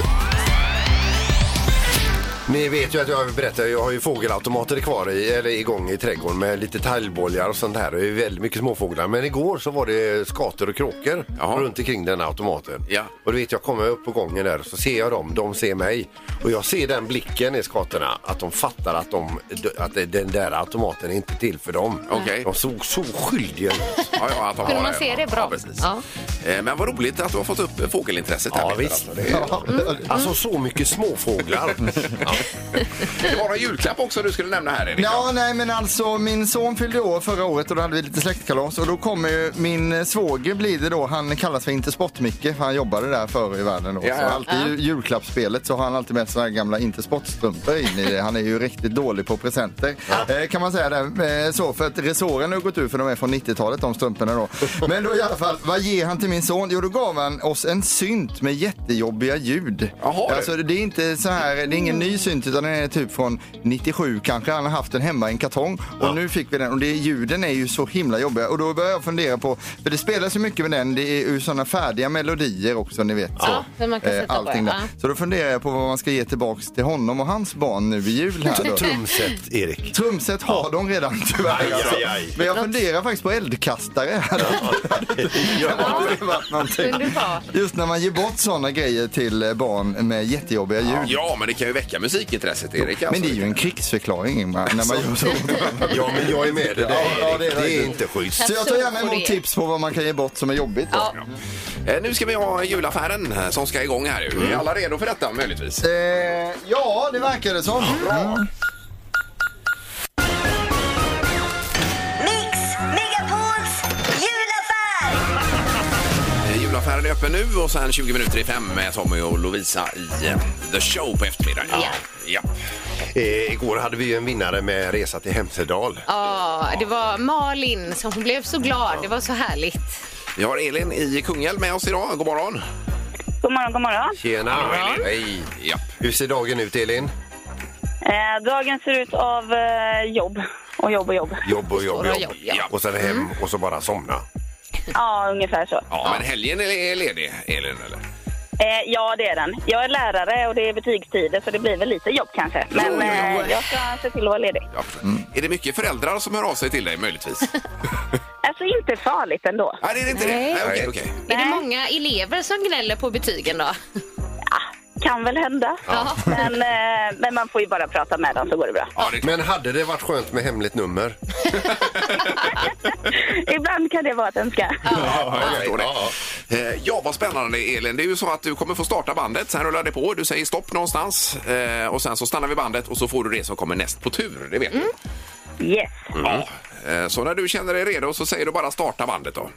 [SPEAKER 5] Ni vet ju att jag berättar, jag har ju fågelautomater kvar i, eller igång i trädgården med lite talgbollar och sånt här. Det är väldigt mycket småfåglar. Men igår så var det skator och kråkor
[SPEAKER 4] Jaha.
[SPEAKER 5] runt omkring den här automaten.
[SPEAKER 4] Ja.
[SPEAKER 5] Och du vet, jag kommer upp på gången där så ser jag dem, de ser mig. Och jag ser den blicken i skatorna, att de fattar att, de, att den där automaten är inte till för dem.
[SPEAKER 4] Okej.
[SPEAKER 5] De såg så skyldiga ut.
[SPEAKER 4] Ja, ja, att de
[SPEAKER 7] Kunde
[SPEAKER 4] har
[SPEAKER 7] man se det bra?
[SPEAKER 4] Ja, precis.
[SPEAKER 7] Ja.
[SPEAKER 4] Eh, Men vad roligt att du har fått upp eh, fågelintresset här.
[SPEAKER 5] Ja,
[SPEAKER 4] Peter,
[SPEAKER 5] visst.
[SPEAKER 4] alltså. Det är-
[SPEAKER 7] Mm.
[SPEAKER 5] Alltså så mycket småfåglar. ja.
[SPEAKER 4] Det var en julklapp också du skulle nämna här Erik.
[SPEAKER 6] Ja, nej men alltså min son fyllde år förra året och då hade vi lite släktkalas och då kommer ju min eh, svåger blir det då, han kallas för Intersport-Micke för han jobbade där förr i världen då.
[SPEAKER 4] Ja,
[SPEAKER 6] Så
[SPEAKER 4] ja.
[SPEAKER 6] alltid i ju- julklappsspelet så har han alltid med såna här gamla Intersport-strumpor in i det. Han är ju riktigt dålig på presenter eh, kan man säga det. Eh, så för att resåren har gått ur för de är från 90-talet de strumporna då. Men då i alla fall, vad ger han till min son? Jo, då gav han oss en synt med jättejobbiga ljud.
[SPEAKER 4] Jaha, du.
[SPEAKER 6] alltså det är inte så här, det är ingen ny synt utan den är typ från 97 kanske. Han har haft den hemma i en kartong och nu fick vi den och det, ljuden är ju så himla jobbiga och då börjar jag fundera på, för det spelas ju mycket med den, det är ju sådana färdiga melodier också ni vet. Eh,
[SPEAKER 7] Ja, som man kan sätta på,
[SPEAKER 6] allting där.
[SPEAKER 7] ja.
[SPEAKER 6] Så då funderar jag på vad man ska ge tillbaks till honom och hans barn nu i jul här då.
[SPEAKER 5] Trumset, Erik.
[SPEAKER 6] Trumset har de redan tyvärr.
[SPEAKER 5] Aj,
[SPEAKER 6] alltså.
[SPEAKER 5] aj, aj.
[SPEAKER 6] Men jag funderar faktiskt på eldkastare.
[SPEAKER 5] Ja.
[SPEAKER 6] Det hade varit någonting.
[SPEAKER 7] Underbart.
[SPEAKER 6] Just när man ger bort sådana grejer till eh, barn med jättejobbiga ljud.
[SPEAKER 4] Ja, men det kan ju väcka musikintresset, Erik.
[SPEAKER 6] Men
[SPEAKER 4] Alltså.
[SPEAKER 6] det är ju en krigsförklaring Ingmar, när man gör
[SPEAKER 7] Alltså.
[SPEAKER 6] så.
[SPEAKER 5] ja, men jag är med dig.
[SPEAKER 6] Ja, ja, det
[SPEAKER 5] Erik.
[SPEAKER 6] är
[SPEAKER 5] Det är
[SPEAKER 6] verkligen.
[SPEAKER 5] inte schysst.
[SPEAKER 6] Så jag tar gärna
[SPEAKER 7] Får det.
[SPEAKER 6] emot tips på vad man kan ge bort som är jobbigt. Då.
[SPEAKER 7] Ja.
[SPEAKER 4] Eh, Nu ska vi ha julaffären eh, som ska igång här.
[SPEAKER 5] Mm.
[SPEAKER 4] ju. Är alla redo för detta möjligtvis?
[SPEAKER 6] Eh, ja, det verkar det som. Mm.
[SPEAKER 10] Mix Megapols julaffär!
[SPEAKER 4] Eh, Julaffären är öppen nu och sen 20 minuter i fem med Tommy och Lovisa i eh, The Show på eftermiddagen.
[SPEAKER 7] Ja.
[SPEAKER 4] ja.
[SPEAKER 5] Eh, igår hade vi ju en vinnare med resa till Hemsedal.
[SPEAKER 7] Ja, det var Malin som hon blev så glad. Det var så härligt.
[SPEAKER 4] Vi har Elin i Kungälv med oss idag. God morgon!
[SPEAKER 2] God morgon, god morgon.
[SPEAKER 5] Tjena!
[SPEAKER 4] Hej! Ja.
[SPEAKER 5] Hur ser dagen ut, Elin?
[SPEAKER 2] Eh, dagen ser ut av eh, jobb och jobb och jobb.
[SPEAKER 5] Jobb och jobb,
[SPEAKER 7] Stora
[SPEAKER 5] jobb.
[SPEAKER 7] jobb, ja.
[SPEAKER 5] Och sen hem
[SPEAKER 4] Mm.
[SPEAKER 5] och så bara somna.
[SPEAKER 2] Ja, ungefär så.
[SPEAKER 4] Ja, men helgen är- är ledig, Elin, eller?
[SPEAKER 2] Eh, ja, det är den. Jag är lärare och det är betygstider så det blir väl lite jobb kanske. Men
[SPEAKER 4] Jo, jo.
[SPEAKER 2] eh, jag ska se till att vara ledig.
[SPEAKER 4] Ja. Är det mycket föräldrar som hör av sig till dig möjligtvis?
[SPEAKER 2] Alltså inte farligt ändå.
[SPEAKER 4] Nej, det är inte det.
[SPEAKER 7] Nej.
[SPEAKER 4] Nej, okej, okej.
[SPEAKER 7] Är det
[SPEAKER 2] Nej.
[SPEAKER 7] många elever som gnäller på betygen då?
[SPEAKER 2] Kan väl hända.
[SPEAKER 7] Ja.
[SPEAKER 2] Men, eh, men man får ju bara prata med dem så går det bra.
[SPEAKER 4] Ja, det är klart.
[SPEAKER 5] Men hade det varit skönt med hemligt nummer?
[SPEAKER 2] Ibland kan det vara ett önskan.
[SPEAKER 4] Ja, jag förstår det. Eh, Ja, vad spännande Elin. Det är ju så att du kommer få starta bandet, sen rullar det på. Du säger stopp någonstans eh, och sen så stannar vi bandet och så får du det som kommer näst på tur. Det vet du.
[SPEAKER 2] Yes.
[SPEAKER 4] Mm. Ja. Eh, Så när du känner dig redo så säger du bara starta bandet då.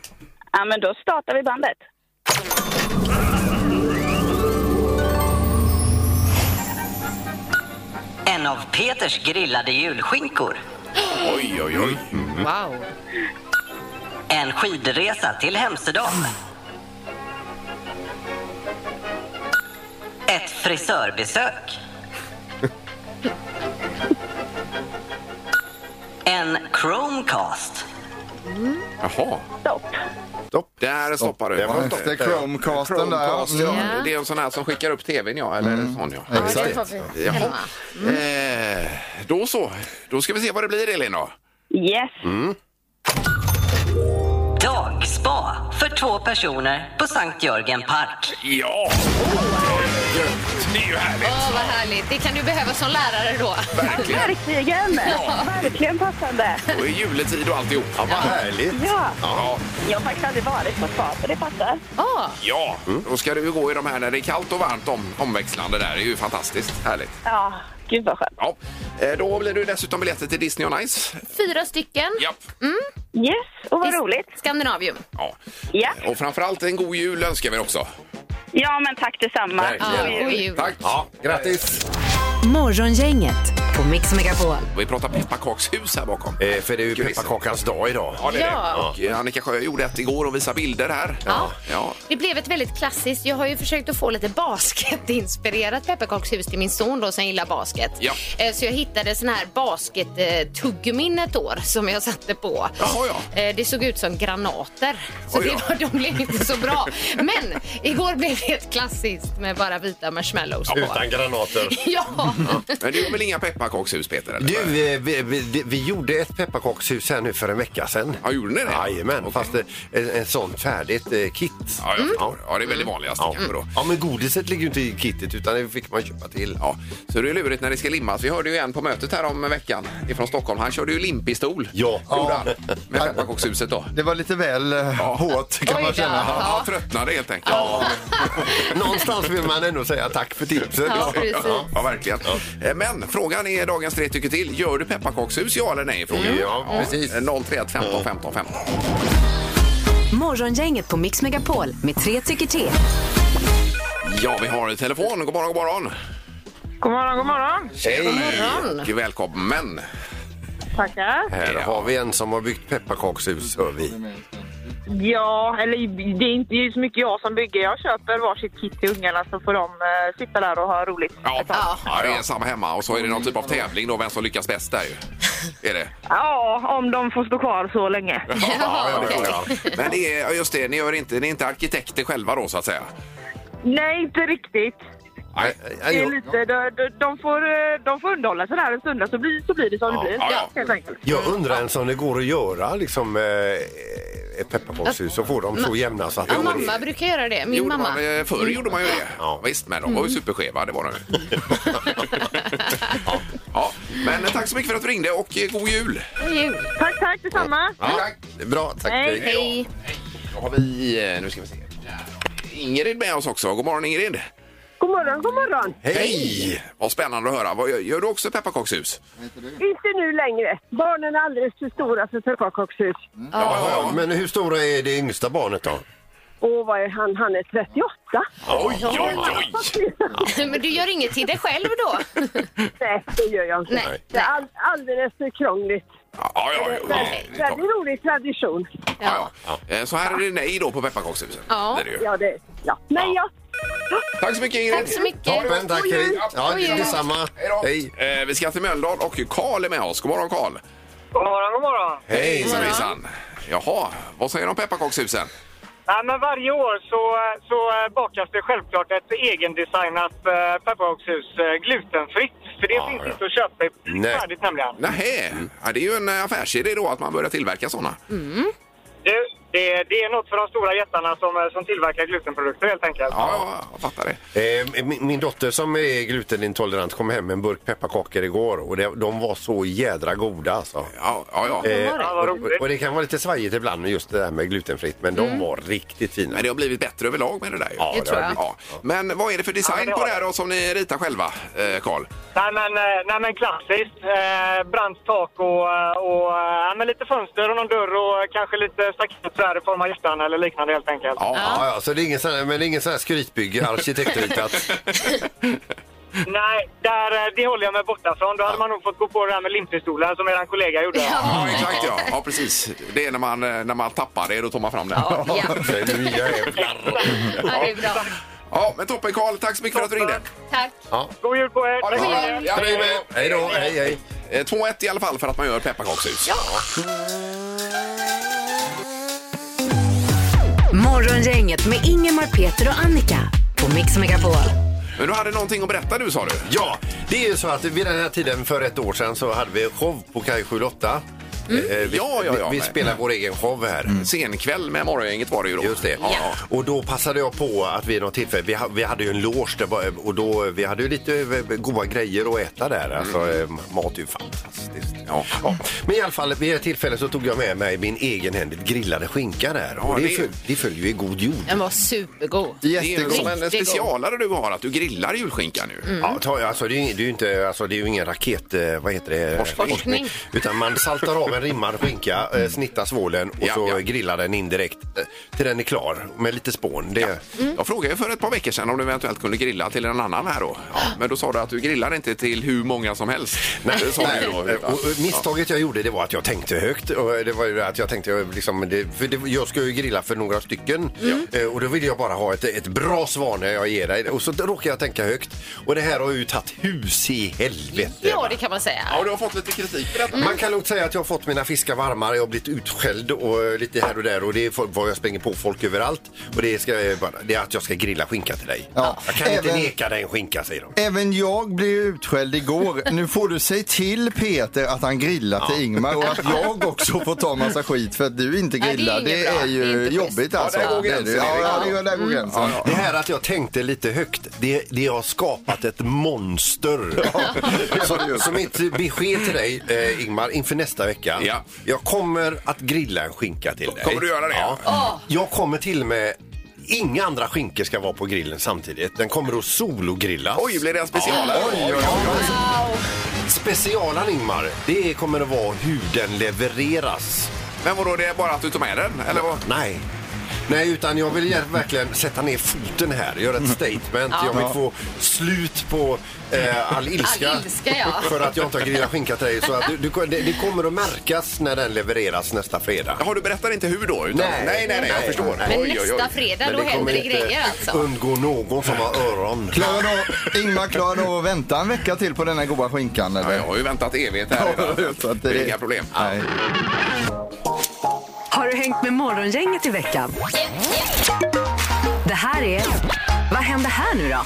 [SPEAKER 2] Ja, men då startar vi bandet.
[SPEAKER 10] En av Peters grillade julskinkor.
[SPEAKER 4] Oj, oj, oj.
[SPEAKER 7] Wow.
[SPEAKER 10] En skidresa till Hemsedal. Ett frisörbesök. En Chromecast.
[SPEAKER 4] Jaha.
[SPEAKER 2] Stopp.
[SPEAKER 5] Stopp.
[SPEAKER 4] Där stoppar du.
[SPEAKER 5] Det var
[SPEAKER 4] Ja,
[SPEAKER 5] stopp.
[SPEAKER 6] Efter Chromecasten där.
[SPEAKER 4] Chromecast, ja.
[SPEAKER 6] Mm.
[SPEAKER 7] Ja.
[SPEAKER 4] Det är en sån här som skickar upp tvn, ja. Eller sån, alltså. Mm. ja.
[SPEAKER 7] Ja, det får vi hemma.
[SPEAKER 4] Eh, då så. Då ska vi se vad det blir, Elin. Då.
[SPEAKER 2] Yes.
[SPEAKER 4] Mm.
[SPEAKER 10] Dagspa för två personer på Sankt Jörgen Park.
[SPEAKER 4] Ja! Oh, Det är ju härligt.
[SPEAKER 7] Åh, vad härligt. Det kan du behöva som lärare då.
[SPEAKER 4] Verkligen.
[SPEAKER 2] Verkligen. Verkgen passande.
[SPEAKER 4] Och i juletid och alltihop. Ja,
[SPEAKER 5] Vad härligt!
[SPEAKER 2] Ja.
[SPEAKER 4] ja.
[SPEAKER 2] Jag har faktiskt aldrig varit på spa, så det passar.
[SPEAKER 7] Ja,
[SPEAKER 4] ja. Då ska du ju gå i de här när det är kallt och varmt om, omväxlande där. Det är ju fantastiskt härligt.
[SPEAKER 2] Ja, gud vad skönt.
[SPEAKER 4] Ja. Eh, Då blir det ju dessutom biljetter till Disney on Ice.
[SPEAKER 7] fyra stycken.
[SPEAKER 4] Japp.
[SPEAKER 2] Yes, och vad roligt.
[SPEAKER 7] Skandinavium.
[SPEAKER 4] Ja.
[SPEAKER 2] Ja.
[SPEAKER 4] Och framförallt en god jul önskar vi också.
[SPEAKER 2] ja, men tack detsamma.
[SPEAKER 5] Verkligen.
[SPEAKER 7] Ja, och jul.
[SPEAKER 4] Tack.
[SPEAKER 5] Ja, grattis!
[SPEAKER 3] Morgongänget på Mix Megapol.
[SPEAKER 4] Vi pratar pepparkakshus här bakom.
[SPEAKER 5] Eh, för det är ju
[SPEAKER 4] Grattis.
[SPEAKER 5] pepparkakans dag idag.
[SPEAKER 4] Ja, det är
[SPEAKER 7] Ja.
[SPEAKER 4] det. Och eh, Annika Sjö gjorde ett igår och visade bilder här.
[SPEAKER 7] Ja.
[SPEAKER 4] ja.
[SPEAKER 7] Det blev ett väldigt klassiskt. Jag har ju försökt att få lite basketinspirerat pepparkakshus till min son då som gillar basket.
[SPEAKER 4] Ja.
[SPEAKER 7] Eh, Så jag hittade sån här basket-tuggummin ett år som jag satte på.
[SPEAKER 4] Jaha, ja.
[SPEAKER 7] Eh, Det såg ut som granater. Så
[SPEAKER 4] Oj
[SPEAKER 7] det
[SPEAKER 4] då.
[SPEAKER 7] var, de blev inte så bra. Men igår blev det ett klassiskt med bara vita marshmallows på.
[SPEAKER 5] Utan granater.
[SPEAKER 7] Ja,
[SPEAKER 4] Men du har väl inga pepparkakshus, Peter? Eller?
[SPEAKER 5] Du, eh, vi, vi, vi gjorde ett pepparkakshus här nu för en vecka sedan.
[SPEAKER 4] Ja, gjorde ni det?
[SPEAKER 5] Jajamän,
[SPEAKER 4] Okej.
[SPEAKER 5] fast eh, ett, ett sånt färdigt eh, kit.
[SPEAKER 4] Ja, jag förstår. Ja, det är väl det vanligaste kanske då.
[SPEAKER 5] Mm. Ja, men godiset ligger ju inte i kittet utan det fick man köpa till.
[SPEAKER 4] Ja, så det är lurigt när det ska limmas. Vi hörde ju en på mötet här om veckan ifrån Stockholm. Han körde ju limpistol.
[SPEAKER 5] Ja.
[SPEAKER 4] Gjorde han. Med pepparkakshuset då.
[SPEAKER 6] Det var lite väl eh, hårt kan
[SPEAKER 7] Oj
[SPEAKER 6] man
[SPEAKER 7] då.
[SPEAKER 6] känna.
[SPEAKER 4] Han tröttnade helt enkelt. Ja,
[SPEAKER 5] Någonstans vill man ändå säga tack för tipset.
[SPEAKER 7] ja precis.
[SPEAKER 4] ja verkligen. Eh, Men frågan är dagens tre tycker till. Gör du pepparkakshus, ja eller nej? Frågan. Eh,
[SPEAKER 5] Ja, precis.
[SPEAKER 4] 031 15 15 15.
[SPEAKER 3] Morgongänget på Mix Megapol med tre tycker till.
[SPEAKER 4] Ja, vi har telefon. God morgon, god morgon.
[SPEAKER 2] God morgon, god morgon.
[SPEAKER 7] morgon.
[SPEAKER 4] Och välkommen.
[SPEAKER 2] Tackar.
[SPEAKER 5] Här
[SPEAKER 4] Ja.
[SPEAKER 5] har vi en som har byggt pepparkakshus, hör vi.
[SPEAKER 2] Ja, eller det är inte det är ju så mycket jag som bygger. Jag köper varsitt kit till ungarna så får de eh, sitta där och ha roligt.
[SPEAKER 4] Ja,
[SPEAKER 2] ett tag.
[SPEAKER 4] ja. det är samma hemma. Och så är det någon typ av tävling då, vem som lyckas bäst där ju. Är det?
[SPEAKER 2] ja, om de får stå kvar så länge.
[SPEAKER 4] ja, det
[SPEAKER 7] okej.
[SPEAKER 4] får jag. Men det är, ja, just det, ni, gör inte, ni är inte arkitekter själva då så att säga?
[SPEAKER 2] Nej, inte riktigt.
[SPEAKER 4] Nej.
[SPEAKER 2] Det är lite, de, de, de, får, eh, de får underhålla sig där en stund så blir, så blir det som det blir.
[SPEAKER 4] ja, ja.
[SPEAKER 2] Helt enkelt.
[SPEAKER 5] Jag undrar ens om det går att göra liksom, eh, ett pepparkakshus och få dem så jämna så att
[SPEAKER 7] Ja,
[SPEAKER 5] det går in.
[SPEAKER 7] mamma brukar göra det. Min Mm.
[SPEAKER 4] Gjorde
[SPEAKER 7] mamma.
[SPEAKER 4] man, eh, förr gjorde man ju det.
[SPEAKER 5] Ja.
[SPEAKER 4] Visst, men de var ju superskeva, det var de ju. ja. ja, men eh, tack så mycket för att du ringde och eh, god jul!
[SPEAKER 2] Tack, tack detsamma.
[SPEAKER 5] Tack. Bra, tack.
[SPEAKER 2] Hej.
[SPEAKER 7] Hej.
[SPEAKER 4] Då har vi, eh, nu ska vi se. Ingrid med oss också. God morgon Ingrid!
[SPEAKER 2] God morgon, god morgon.
[SPEAKER 4] Hej! Vad spännande att höra. Vad, gör- gör du också pepparkakshus?
[SPEAKER 2] Inte nu längre. Barnen är alldeles för stora för pepparkakshus.
[SPEAKER 5] Ja, men hur stora är det yngsta barnet då?
[SPEAKER 2] Och vad är han? Han är 38.
[SPEAKER 4] Oj, oj, oj!
[SPEAKER 7] Men du gör inget till dig själv då?
[SPEAKER 2] Nej, det gör jag inte.
[SPEAKER 7] Nej.
[SPEAKER 2] Det är all, alldeles för krångligt.
[SPEAKER 4] Ja, ja, ja, ja.
[SPEAKER 2] Väldigt rolig tradition.
[SPEAKER 4] Ja, ja. Eh, Så här är det nej då på pepparkakshuset.
[SPEAKER 7] Ja.
[SPEAKER 4] Det är det ju.
[SPEAKER 2] Ja, det, ja.
[SPEAKER 4] Ja.
[SPEAKER 2] Men ja.
[SPEAKER 4] Tack så mycket Ingrid!
[SPEAKER 7] Tack så mycket.
[SPEAKER 5] Toppen, tack. Hej. Ja,
[SPEAKER 7] Oj, oj, oj.
[SPEAKER 5] detsamma.
[SPEAKER 4] Hej då.
[SPEAKER 5] Hej.
[SPEAKER 4] Eh, vi ska till Mölndal och Karl är med oss. God morgon Karl!
[SPEAKER 2] God morgon, god morgon.
[SPEAKER 4] Hej hejsan! Jaha, vad säger de om pepparkakshusen?
[SPEAKER 2] Nej, men varje år så, så eh, bakas det självklart ett egendesignat eh, pepparkakshus eh, glutenfritt. För det finns
[SPEAKER 5] ja.
[SPEAKER 2] inte att köpa i
[SPEAKER 5] Nej.
[SPEAKER 2] färdigt nämligen.
[SPEAKER 4] Nähä, ja, det är ju en eh, affärsidé då att man börjar tillverka sådana.
[SPEAKER 2] Det, det, det är något för de stora jättarna som, eh, som tillverkar glutenprodukter helt enkelt.
[SPEAKER 4] Ja, ja, jag fattar det.
[SPEAKER 5] Eh, min, min dotter som är glutenintolerant kom hem med en burk pepparkakor igår och det, de var så jädra goda alltså.
[SPEAKER 4] Ja, ja, ja.
[SPEAKER 5] Eh,
[SPEAKER 2] Ja, vad roligt.
[SPEAKER 5] och, och det kan vara lite svajigt ibland med just det där med glutenfritt men de var riktigt fina.
[SPEAKER 4] Men det har blivit bättre överlag med det där ju.
[SPEAKER 5] Ja, det Det tror har jag.
[SPEAKER 4] Ja. Men vad är det för design
[SPEAKER 2] Ja, det har
[SPEAKER 4] på det här då som ni ritar själva, eh, Karl?
[SPEAKER 2] Nej men, eh, nej, men klassiskt. Eh, brant tak och, eh, och eh, ja, men lite fönster och någon dörr och eh, kanske lite staket så här i form av hjärtan eller liknande helt enkelt.
[SPEAKER 5] Ja, ja, så det är ingen sån här, men det är ingen sån här skrytbygge, arkitektritat.
[SPEAKER 2] Nej, där, eh, det håller jag mig borta från. Då hade man nog fått gå på det här med limpistolen som eran kollega gjorde.
[SPEAKER 4] Ja, exakt ja. Ja, precis. Det är när man, eh, när man tappar det, då tar man fram det.
[SPEAKER 7] Ja, ja.
[SPEAKER 5] Så nu är jag jävlar.
[SPEAKER 7] ja, det är bra.
[SPEAKER 4] Ja, men toppen Karl. Tack så mycket för att du ringde.
[SPEAKER 7] Tack.
[SPEAKER 2] God jul på er!
[SPEAKER 4] Ha det så bra. Ja,
[SPEAKER 5] Hej med. Hej då, hej hej.
[SPEAKER 4] Eh, 2-1 i alla fall för att man gör pepparkakshus. Ja.
[SPEAKER 3] Morgongänget med Ingemar, Peter och Annika på Mix Megapol.
[SPEAKER 4] Men du hade någonting att berätta du sa du?
[SPEAKER 5] Ja, det är ju så att vid den här tiden för ett år sedan så hade vi en show på Kaj 78. Eh, Vi,
[SPEAKER 4] Mm. Ja, ja, ja,
[SPEAKER 5] vi, vi
[SPEAKER 4] men-
[SPEAKER 5] spelar vår egen show här.
[SPEAKER 4] Senkväll med Morgongänget var det ju då.
[SPEAKER 5] Just det.
[SPEAKER 4] Ja.
[SPEAKER 5] Och då passade jag på att vid något tillfälle, vi, ha, vi hade ju en loge där, var- och då, vi hade ju lite eh, goda grejer att äta där.
[SPEAKER 4] Mm.
[SPEAKER 5] Alltså, eh, Mat är ju fantastiskt.
[SPEAKER 4] Ja.
[SPEAKER 5] Ja. Men i alla fall, vid ett tillfälle så tog jag med mig min egenhändigt grillade skinka där.
[SPEAKER 4] Ja,
[SPEAKER 5] Och det,
[SPEAKER 4] det-
[SPEAKER 5] föll, det föll ju i god jord.
[SPEAKER 7] Den var supergod.
[SPEAKER 4] Det är ju som
[SPEAKER 6] Jättegod.
[SPEAKER 4] en
[SPEAKER 7] Riktigt
[SPEAKER 4] specialare du har, att du grillar julskinka nu.
[SPEAKER 5] Ja, ta, alltså, det, är, ju- det, är ju inte, alltså, det är ju ingen raket... eh, Vad heter det?
[SPEAKER 4] Forskning. Mm.
[SPEAKER 5] Utan man saltar av en rimmad skinka, eh, snittar svålen och
[SPEAKER 4] Ja,
[SPEAKER 5] så
[SPEAKER 4] ja.
[SPEAKER 5] grillar den indirekt eh, till den är klar med lite spån. Det,
[SPEAKER 4] Jag frågade ju för ett par veckor sedan om du eventuellt kunde grilla till en annan här då. Ja, men då sa du att du grillar inte till hur många som helst. Det alltså. sa du
[SPEAKER 5] Nej,
[SPEAKER 4] ju då.
[SPEAKER 5] Eh, och, och misstaget jag gjorde det var att jag tänkte högt. Och det var ju det att jag tänkte, eh, liksom, det, för det, jag ska ju grilla för några stycken
[SPEAKER 4] Mm.
[SPEAKER 5] Eh, och då ville jag bara ha ett, ett bra svar när jag ger dig. Och så råkade jag tänka högt och det här har ju tagit hus i helvete.
[SPEAKER 7] Ja, det kan man säga.
[SPEAKER 4] Ja, du har fått lite kritik för detta.
[SPEAKER 5] Man kan nog säga att jag har fått mina fiskar varmare, jag har blivit utskälld och eh, lite här och där och det är folk- vad jag springer på folk överallt. Och det, ska, jag bara- det är att jag ska grilla skinka till dig.
[SPEAKER 6] Ja.
[SPEAKER 5] Jag kan inte
[SPEAKER 6] Även-
[SPEAKER 5] neka dig en skinka säger de.
[SPEAKER 6] Även jag blev utskälld igår. Nu får du säga till Peter att han grillar till Ingmar och att jag också får ta massa skit för att du inte
[SPEAKER 7] Ja, det är
[SPEAKER 6] grillar.
[SPEAKER 7] inget
[SPEAKER 6] Det
[SPEAKER 7] bra.
[SPEAKER 6] är
[SPEAKER 7] Det är
[SPEAKER 6] ju
[SPEAKER 7] inte
[SPEAKER 6] jobbigt
[SPEAKER 7] schysst.
[SPEAKER 6] alltså.
[SPEAKER 4] Ja, där går
[SPEAKER 6] Det är
[SPEAKER 4] gränsen,
[SPEAKER 6] det. Ja, ja,
[SPEAKER 4] Erik.
[SPEAKER 6] det går- där går gränsen.
[SPEAKER 5] Det här att jag tänkte lite högt, det, det har skapat ett monster. som, som mitt besked till dig, eh, Ingmar, inför nästa vecka.
[SPEAKER 4] Ja.
[SPEAKER 5] Jag kommer att grilla en skinka till dig.
[SPEAKER 4] Kommer du göra det?
[SPEAKER 5] Ja. Jag kommer till och med Inga andra skinkor ska vara på grillen samtidigt. Den kommer att sologrillas.
[SPEAKER 4] Oj, blir det en specialare?
[SPEAKER 5] Ja, oj, oj, oj. Specialen, Ingmar, det kommer att vara hur den levereras.
[SPEAKER 4] Men vadå, det är bara att du tar med den? Eller vad?
[SPEAKER 5] Nej. Nej, utan jag vill gärna verkligen sätta ner foten här, göra ett statement. Jag vill få slut på eh, all ilska.
[SPEAKER 7] All ilska, ja.
[SPEAKER 5] För att jag inte har grillat skinka till dig. Så att du, du, det, det kommer att märkas när den levereras nästa fredag.
[SPEAKER 4] Jaha, du berättar inte hur då? Utan, nej,
[SPEAKER 5] Nej.
[SPEAKER 4] nej, nej, jag
[SPEAKER 5] Nej.
[SPEAKER 4] förstår.
[SPEAKER 5] Men
[SPEAKER 7] Men
[SPEAKER 4] Oj, oj, oj.
[SPEAKER 7] nästa fredag, då händer det grejer alltså.
[SPEAKER 5] undgå någon som har öron.
[SPEAKER 6] Klarar då, Ingmar klarar då att vänta en vecka till på denna goda skinkan
[SPEAKER 4] Ja,
[SPEAKER 6] eller?
[SPEAKER 4] jag har ju väntat evigt här redan.
[SPEAKER 6] Så att
[SPEAKER 4] Det är inga problem.
[SPEAKER 6] Nej.
[SPEAKER 3] Har du hängt med Morgongänget i veckan? Det här är... Vad händer här nu då?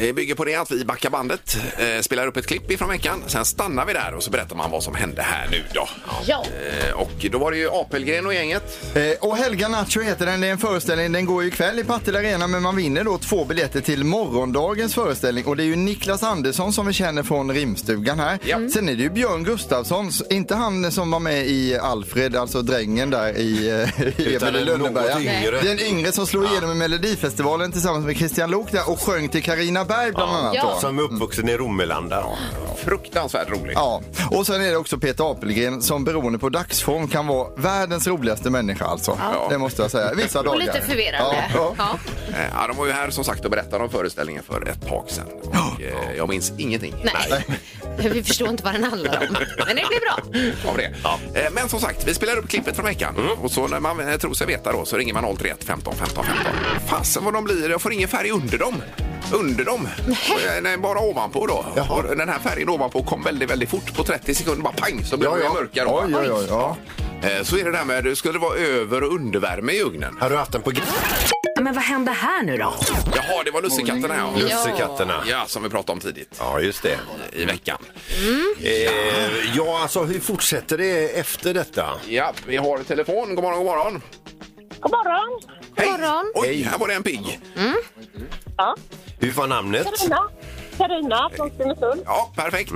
[SPEAKER 4] Det bygger på det att vi backar bandet, eh, spelar upp ett klipp ifrån veckan, sen stannar vi där och så berättar man vad som hände här nu då.
[SPEAKER 7] Ja.
[SPEAKER 4] Eh, och då var det ju Apelgren och gänget.
[SPEAKER 6] Eh, Och Helga Nacho heter den. Det är en föreställning. Den går ju ikväll i Partille Arena men man vinner då två biljetter till morgondagens föreställning. Och det är ju Niklas Andersson som vi känner från rimstugan här.
[SPEAKER 4] Ja. Mm.
[SPEAKER 6] Sen är det ju Björn Gustafsson, s- inte han som var med i Alfred, alltså drängen där i eh, i
[SPEAKER 5] Utan
[SPEAKER 6] Emil i
[SPEAKER 5] en något
[SPEAKER 6] Lönneberga.
[SPEAKER 5] yngre.
[SPEAKER 6] Den yngre som slog igenom i Melodifestivalen tillsammans med Christian Lok där och sjöng till Karina Berg bland annat.
[SPEAKER 7] Ja.
[SPEAKER 6] då.
[SPEAKER 5] Som är uppvuxen i Romelanda.
[SPEAKER 4] Fruktansvärt roligt.
[SPEAKER 6] Ja, och sen är det också Peter Apelgren som beroende på dagsform kan vara världens roligaste människa alltså.
[SPEAKER 4] Ja.
[SPEAKER 6] Det måste jag säga. Vissa dagar.
[SPEAKER 7] Och lite förvirrande.
[SPEAKER 6] Ja, ja.
[SPEAKER 7] Ja.
[SPEAKER 4] Eh, Ja, de var ju här som sagt och berättade om föreställningen för ett tag sedan. Och, eh, jag minns ingenting
[SPEAKER 7] Nej. Vi förstår inte vad den handlar om. Men det blir bra.
[SPEAKER 4] av det. Eh, Men som sagt, vi spelar upp klippet från veckan
[SPEAKER 6] Mm.
[SPEAKER 4] och så när man eh, tror sig veta då så ringer man 031 15 15 15. Fasen vad de blir, jag får ingen färg under dem. Under dem? Eh, Nej, bara ovanpå då. Och den här färgen ovanpå kom väldigt, väldigt fort. På 30 sekunder bara pang så blev
[SPEAKER 5] Ja,
[SPEAKER 4] det
[SPEAKER 5] ja.
[SPEAKER 4] mörkare.
[SPEAKER 6] Oj, oj, oj. Ja.
[SPEAKER 4] Eh, Så är det där med, det skulle vara över och undervärme i ugnen.
[SPEAKER 5] Har du haft den på
[SPEAKER 3] Men vad händer här nu då?
[SPEAKER 4] Jaha, det var lussekatterna ja.
[SPEAKER 5] grussekatterna?
[SPEAKER 4] Ja, som vi pratade om tidigt
[SPEAKER 5] Ja, just det.
[SPEAKER 4] i veckan.
[SPEAKER 5] Eh, ja, alltså hur fortsätter det efter detta?
[SPEAKER 4] Ja, vi har telefon. God morgon, god morgon.
[SPEAKER 2] God morgon!
[SPEAKER 4] Hej!
[SPEAKER 7] morgon.
[SPEAKER 4] Oj, här var det en pigg.
[SPEAKER 2] Ja,
[SPEAKER 5] Hur var namnet?
[SPEAKER 2] Carina. Carina från Stenungsund.
[SPEAKER 4] Ja, perfekt.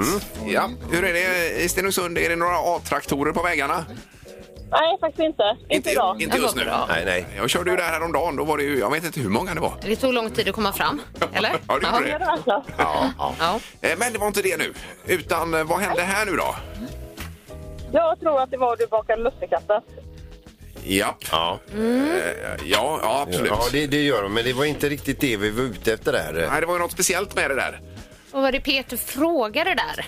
[SPEAKER 4] Ja. Hur är det i Stenungsund? Är det några A-traktorer på vägarna?
[SPEAKER 2] Nej, faktiskt inte. Inte idag.
[SPEAKER 4] inte just nu.
[SPEAKER 5] Nej, nej.
[SPEAKER 4] Jag körde ju där häromdagen. Då var det ju, jag vet inte hur många det var.
[SPEAKER 7] Det tog lång tid att komma fram. Eller?
[SPEAKER 4] Ja, det gjorde
[SPEAKER 2] Ja,
[SPEAKER 4] det.
[SPEAKER 2] det var alltså. så.
[SPEAKER 4] Ja, ja.
[SPEAKER 7] Ja.
[SPEAKER 4] Eh, Men det var inte det nu. Utan eh, vad hände här nu då?
[SPEAKER 2] Jag tror att det var du bakade lussekatter.
[SPEAKER 4] Ja,
[SPEAKER 5] Ja,
[SPEAKER 4] eh, ja, ja absolut.
[SPEAKER 5] ja det, det gör de, men det var inte riktigt det vi var ute efter där.
[SPEAKER 4] Nej, det var ju något speciellt med det där.
[SPEAKER 7] Och var det Peter frågade där?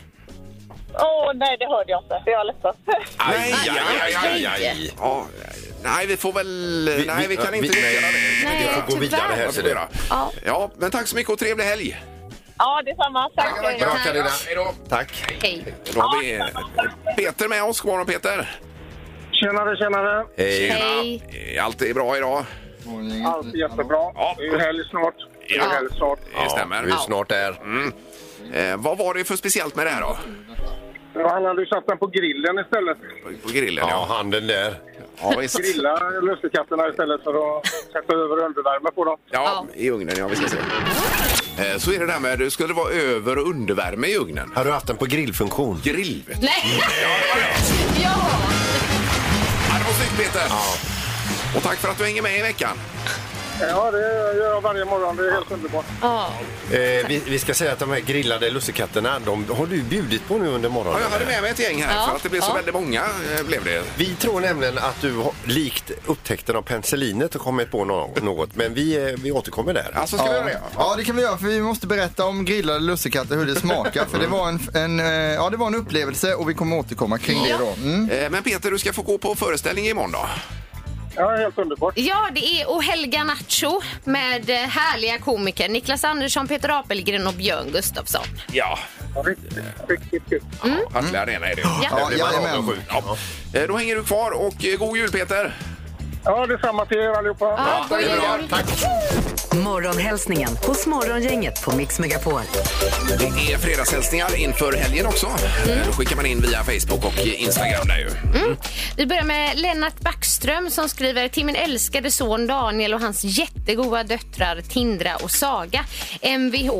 [SPEAKER 2] Åh, nej, det hörde jag inte. Det är jag ledsen.
[SPEAKER 4] Aj, aj, aj, aj, aj.
[SPEAKER 5] aj.
[SPEAKER 4] Ja, nej, vi får väl... nej, vi kan inte
[SPEAKER 5] nej,
[SPEAKER 4] göra det.
[SPEAKER 7] Nej,
[SPEAKER 5] Vi får gå
[SPEAKER 7] tyvärr.
[SPEAKER 5] vidare här.
[SPEAKER 4] Jag
[SPEAKER 5] ser
[SPEAKER 4] får
[SPEAKER 5] du.
[SPEAKER 4] göra.
[SPEAKER 7] Ja.
[SPEAKER 4] Ja, men tack så mycket och trevlig helg.
[SPEAKER 2] Ja, detsamma. Tack.
[SPEAKER 5] Bra, Carina.
[SPEAKER 4] Hej då.
[SPEAKER 5] Tack.
[SPEAKER 7] Hej.
[SPEAKER 4] Då har vi eh, Peter med oss. God morgon, Peter.
[SPEAKER 2] Tjenare, tjenare.
[SPEAKER 5] Hej.
[SPEAKER 7] Hej.
[SPEAKER 4] Eh, Allt är bra idag.
[SPEAKER 2] Allt är jättebra.
[SPEAKER 4] Ja.
[SPEAKER 2] Det är ju helg snart. Det är ju
[SPEAKER 4] Ja.
[SPEAKER 2] helg snart.
[SPEAKER 4] Det stämmer.
[SPEAKER 5] Vi är snart där.
[SPEAKER 4] Eh, vad var det för speciellt med det här då?
[SPEAKER 2] Ja, Han hade ju satt den på grillen istället.
[SPEAKER 4] På grillen,
[SPEAKER 5] Ja,
[SPEAKER 4] ja.
[SPEAKER 5] handen där.
[SPEAKER 4] Ja, visst.
[SPEAKER 2] Grilla lussekatterna istället för att sätta över och undervärme på dem.
[SPEAKER 4] Ja, i ugnen, ja. Vi ska se. Eh, så är det där med, det skulle vara över och undervärme i ugnen.
[SPEAKER 5] Har du haft den på grillfunktion?
[SPEAKER 4] Grill, vet du.
[SPEAKER 7] Nej! Ja!
[SPEAKER 4] Ja, det var snyggt, Peter. Och tack för att du hänger med i veckan.
[SPEAKER 2] Ja, det gör jag varje morgon. Det är helt underbart.
[SPEAKER 7] ja.
[SPEAKER 5] Eh, vi, vi ska säga att de här grillade lussekatterna, de har du bjudit på nu under morgonen.
[SPEAKER 4] Ja, jag hade med mig ett gäng här
[SPEAKER 7] Ja,
[SPEAKER 4] för att det blev så
[SPEAKER 7] ja.
[SPEAKER 4] väldigt många. eh, Blev det.
[SPEAKER 5] Vi tror nämligen att du har, likt upptäckten av penicillinet har kommit på nå- något, men vi, eh, vi återkommer där.
[SPEAKER 4] Alltså, ska vi göra det?
[SPEAKER 6] Ja, det kan vi göra för vi måste berätta om grillade lussekatter, hur det smakar. För det var en, en, eh, ja, det var en upplevelse och vi kommer återkomma kring det då. Mm.
[SPEAKER 4] Eh, Men Peter, du ska få gå på föreställning imorgon då.
[SPEAKER 2] Ja, helt underbart.
[SPEAKER 7] Ja, det är och Helga Nacho med eh, härliga komiker Niklas Andersson, Peter Apelgren och Björn Gustafsson.
[SPEAKER 4] Ja.
[SPEAKER 2] Riktigt, riktigt kul.
[SPEAKER 4] Mm. Partille Arena är det.
[SPEAKER 7] Ja.
[SPEAKER 5] Det var
[SPEAKER 6] jajamän.
[SPEAKER 5] avundsjuk.
[SPEAKER 4] Ja. Eh, Då hänger du kvar och eh, god jul Peter!
[SPEAKER 2] Ja, detsamma till er allihopa.
[SPEAKER 7] Ja, god
[SPEAKER 4] det är bra.
[SPEAKER 7] jul.
[SPEAKER 3] Morgonhälsningen hos Morgongänget på Mix Megapol.
[SPEAKER 4] Det är fredagshälsningar inför helgen också. Eh, Då skickar man in via Facebook och Instagram där ju.
[SPEAKER 7] Vi börjar med Lennart Backström som skriver till min älskade son Daniel och hans jättegoda döttrar Tindra och Saga. Mvh,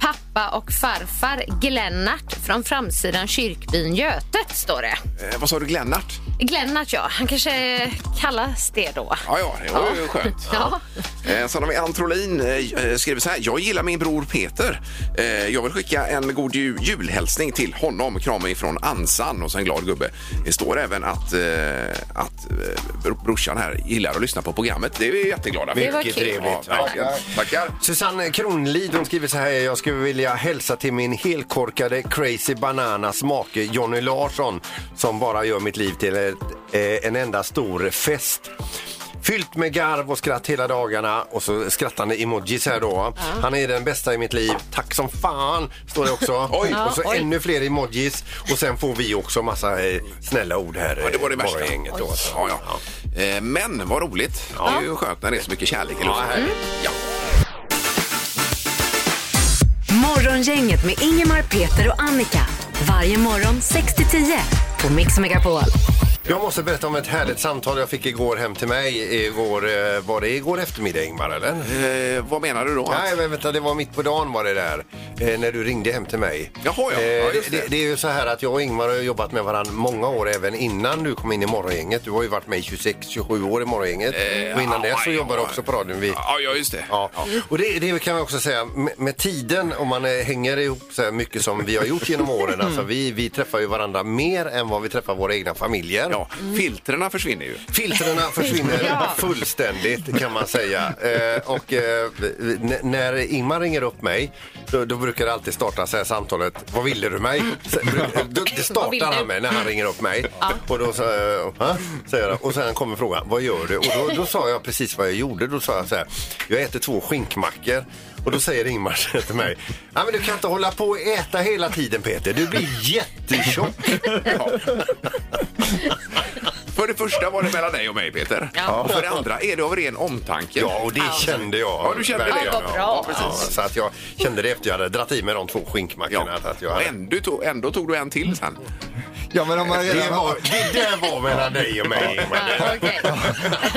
[SPEAKER 7] pappa och farfar Glennart från framsidan kyrkbyn Götet, står det.
[SPEAKER 4] Eh, Vad sa du, Glennart?
[SPEAKER 7] Glennart, ja. Han kanske kallas det då.
[SPEAKER 4] Ja, ja, det var ju skönt.
[SPEAKER 7] Ja.
[SPEAKER 4] Eh, Sen har vi Antrolin eh, skriver så här. Jag gillar min bror Peter. Eh, Jag vill skicka en god ju- julhälsning till honom. Kram ifrån Ansan och så en glad gubbe. Det står även att, eh, att eh, bro- brorsan här gillar att lyssna på programmet. Det är vi jätteglada för.
[SPEAKER 7] Det var kul.
[SPEAKER 4] Ja, verkligen. Tackar.
[SPEAKER 5] Susanne Kronlid hon skriver så här. Jag skulle vilja hälsa till min helkorkade Crazy Bananas make Jonny Larsson som bara gör mitt liv till ett, eh, en enda stor fest. Fyllt med garv och skratt hela dagarna och så skrattande emojis här då. Han är den bästa i mitt liv. Tack som fan, står det också.
[SPEAKER 4] Oj.
[SPEAKER 5] och så
[SPEAKER 7] Ja, oj.
[SPEAKER 5] ännu fler emojis och sen får vi också massa eh, snälla ord här.
[SPEAKER 4] Ja, det var det
[SPEAKER 5] eh,
[SPEAKER 4] värsta.
[SPEAKER 5] morgongänget då.
[SPEAKER 4] Ja, ja. Eh, Men vad roligt. Det är ju skönt när det är så mycket kärlek i luften. Ja.
[SPEAKER 3] Morgongänget med Ingemar, Peter och Annika. Varje morgon 6 till 10 på Mix Megapol.
[SPEAKER 5] Jag måste berätta om ett härligt samtal jag fick igår hem till mig. Igår, eh, var det igår eftermiddag Ingmar eller?
[SPEAKER 4] Eh, Vad menar du då?
[SPEAKER 5] Nej, men vänta, det var mitt på dagen var det där. Eh, när du ringde hem till mig. Eh,
[SPEAKER 4] Jaha, ja. Ja, just det.
[SPEAKER 5] det. Det, är ju så här att jag och Ingmar har jobbat med varandra många år även innan du kom in i morgongänget. Du har ju varit med i 26-27 år i morgongänget. och innan
[SPEAKER 4] ja,
[SPEAKER 5] det så
[SPEAKER 4] Eh, ja,
[SPEAKER 5] jobbade du
[SPEAKER 4] ja.
[SPEAKER 5] också på radion. Vi,
[SPEAKER 4] Ja, ja, just det.
[SPEAKER 5] Ja. Och det, det kan man också säga, med, med tiden, om man eh, hänger ihop så här mycket som vi har gjort genom åren, alltså vi, vi träffar ju varandra mer än vad vi träffar våra egna familjer.
[SPEAKER 4] Ja, filtrerna försvinner ju.
[SPEAKER 5] Filtrerna försvinner fullständigt kan man säga. Eh, och eh, n- när Ingmar ringer upp mig, då, då brukar det alltid starta så här samtalet. Vad ville du mig? Så- bru- då- Det
[SPEAKER 7] Vad vill
[SPEAKER 5] startar
[SPEAKER 7] du?
[SPEAKER 5] han med när han ringer upp mig. Och då så, eh, "Va?" säger han. Och sen kommer frågan, vad gör du? Och då, då sa jag precis vad jag gjorde. Då sa jag så här, jag äter två skinkmackor. Och då säger Ingmar så här till mig, "Ja, men du kan inte hålla på och äta hela tiden Peter, du blir jättetjock.
[SPEAKER 4] För det första var det mellan dig och mig, Peter.
[SPEAKER 7] Ja.
[SPEAKER 4] Och för det andra är det av ren omtanke.
[SPEAKER 5] Ja, och det kände jag.
[SPEAKER 4] Ja, du kände det.
[SPEAKER 5] verkligen.
[SPEAKER 7] Ja, vad bra.
[SPEAKER 5] Ja,
[SPEAKER 4] precis.
[SPEAKER 5] så att jag kände det efter jag hade dratt i mig de två skinkmackorna. Ja. Att jag
[SPEAKER 4] Och
[SPEAKER 5] hade...
[SPEAKER 4] ändå, tog, ändå tog du en till sen.
[SPEAKER 6] Ja, men om man
[SPEAKER 5] det,
[SPEAKER 6] redan
[SPEAKER 5] var, det där var mellan dig och mig. Ingmar.
[SPEAKER 7] Ja, okej.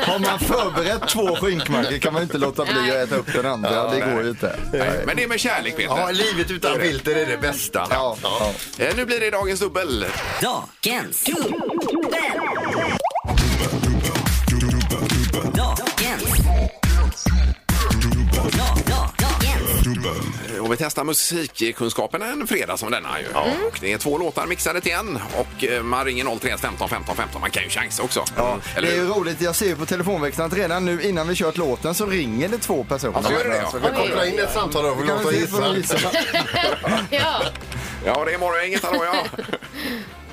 [SPEAKER 6] har man förberett två skinkmackor kan man inte låta bli att äta upp den andra. det går ju inte.
[SPEAKER 4] Nej. Men det är med kärlek, Peter.
[SPEAKER 5] Ja, livet utan filter är det bästa.
[SPEAKER 6] Ja, ja.
[SPEAKER 4] Eh, Nu blir det dagens dubbel.
[SPEAKER 10] Dagens dubbel. Dagens. Da- da- Dagens.
[SPEAKER 4] Eh, Och vi testar musikkunskapen en fredag som denna. Ju. Mm. Och det är två låtar mixade till en och eh, man ringer 031 15 15 15. Man kan ju chansa också. Mm.
[SPEAKER 6] Ja,
[SPEAKER 4] Eller
[SPEAKER 6] det är
[SPEAKER 4] hur?
[SPEAKER 6] ju roligt, jag ser ju på telefonväxeln att redan nu innan vi kört låten så ringer det två personer.
[SPEAKER 4] Ja, så gör det, ja.
[SPEAKER 6] Så
[SPEAKER 5] Men koppla in ett samtal och
[SPEAKER 6] kan
[SPEAKER 5] låt oss
[SPEAKER 6] vi se
[SPEAKER 5] gissa.
[SPEAKER 6] vad vi gissar.
[SPEAKER 7] Ja.
[SPEAKER 4] ja, det är morgongänget. Hallå, ja.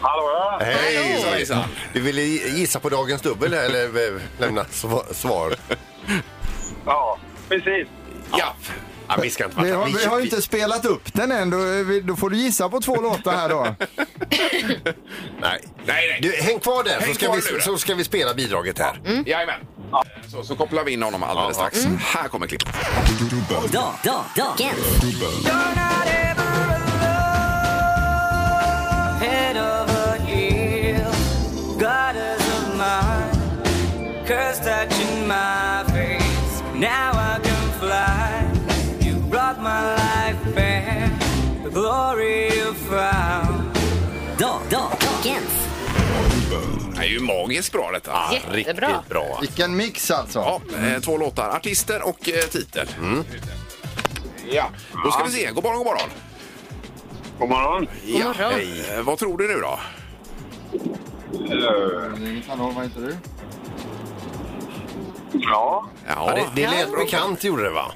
[SPEAKER 2] Hallå, ja.
[SPEAKER 5] Hej!
[SPEAKER 4] Hejsan, hejsan.
[SPEAKER 5] Du ville gissa på dagens dubbel här, eller eh, lämna sva- svar?
[SPEAKER 2] Ja, precis.
[SPEAKER 4] ja.
[SPEAKER 5] Ja, vi ska inte
[SPEAKER 6] Vi
[SPEAKER 5] vara
[SPEAKER 6] har, vi har ju inte spelat upp den än, då, är vi- då får du gissa på två låtar här då.
[SPEAKER 5] Nej.
[SPEAKER 4] Nej, nej.
[SPEAKER 5] Du, häng kvar där
[SPEAKER 4] Häng
[SPEAKER 5] så, ska
[SPEAKER 4] kvar nu
[SPEAKER 5] vi,
[SPEAKER 4] då. Mm.
[SPEAKER 5] så ska vi spela bidraget här.
[SPEAKER 4] Jajamän. Så, så kopplar vi in honom alldeles
[SPEAKER 5] Ja, ja.
[SPEAKER 4] strax. Här kommer klippet.
[SPEAKER 10] Da- da- Dagens. Da- da- Dagens.
[SPEAKER 4] Det är ju magiskt bra detta.
[SPEAKER 7] Jättebra.
[SPEAKER 5] bra.
[SPEAKER 6] Vilken mix alltså.
[SPEAKER 4] Ja, eh, två låtar. Artister och eh, titel. Ja, då ska vi se. God morgon, god morgon.
[SPEAKER 2] God morgon.
[SPEAKER 4] Ja.
[SPEAKER 7] morgon.
[SPEAKER 4] Hej. Eh, Vad tror du nu då?
[SPEAKER 6] Hallå, vad heter du?
[SPEAKER 2] Ja.
[SPEAKER 4] Ja,
[SPEAKER 5] Ja, det, det lät bekant gjorde det va?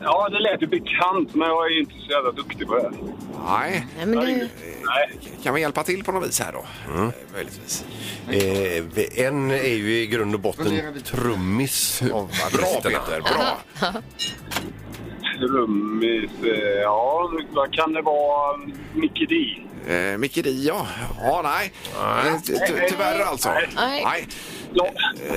[SPEAKER 2] ja, det lät ju bekant, men jag är ju inte så jävla duktig på det.
[SPEAKER 4] Nej.
[SPEAKER 7] Nej, men det...
[SPEAKER 2] Nej.
[SPEAKER 4] Kan vi hjälpa till på något vis här då? Eh, Möjligtvis.
[SPEAKER 5] Eh, en är ju i grund och botten trummis av
[SPEAKER 4] Bra
[SPEAKER 5] artisterna.
[SPEAKER 4] Peter, bra.
[SPEAKER 2] Trummis... eh, Ja, vad kan det vara? Micke D.
[SPEAKER 4] Eh, Micke Di, ja. Ja, nej. Eh, ty- ty- Tyvärr alltså.
[SPEAKER 7] Nej.
[SPEAKER 2] La-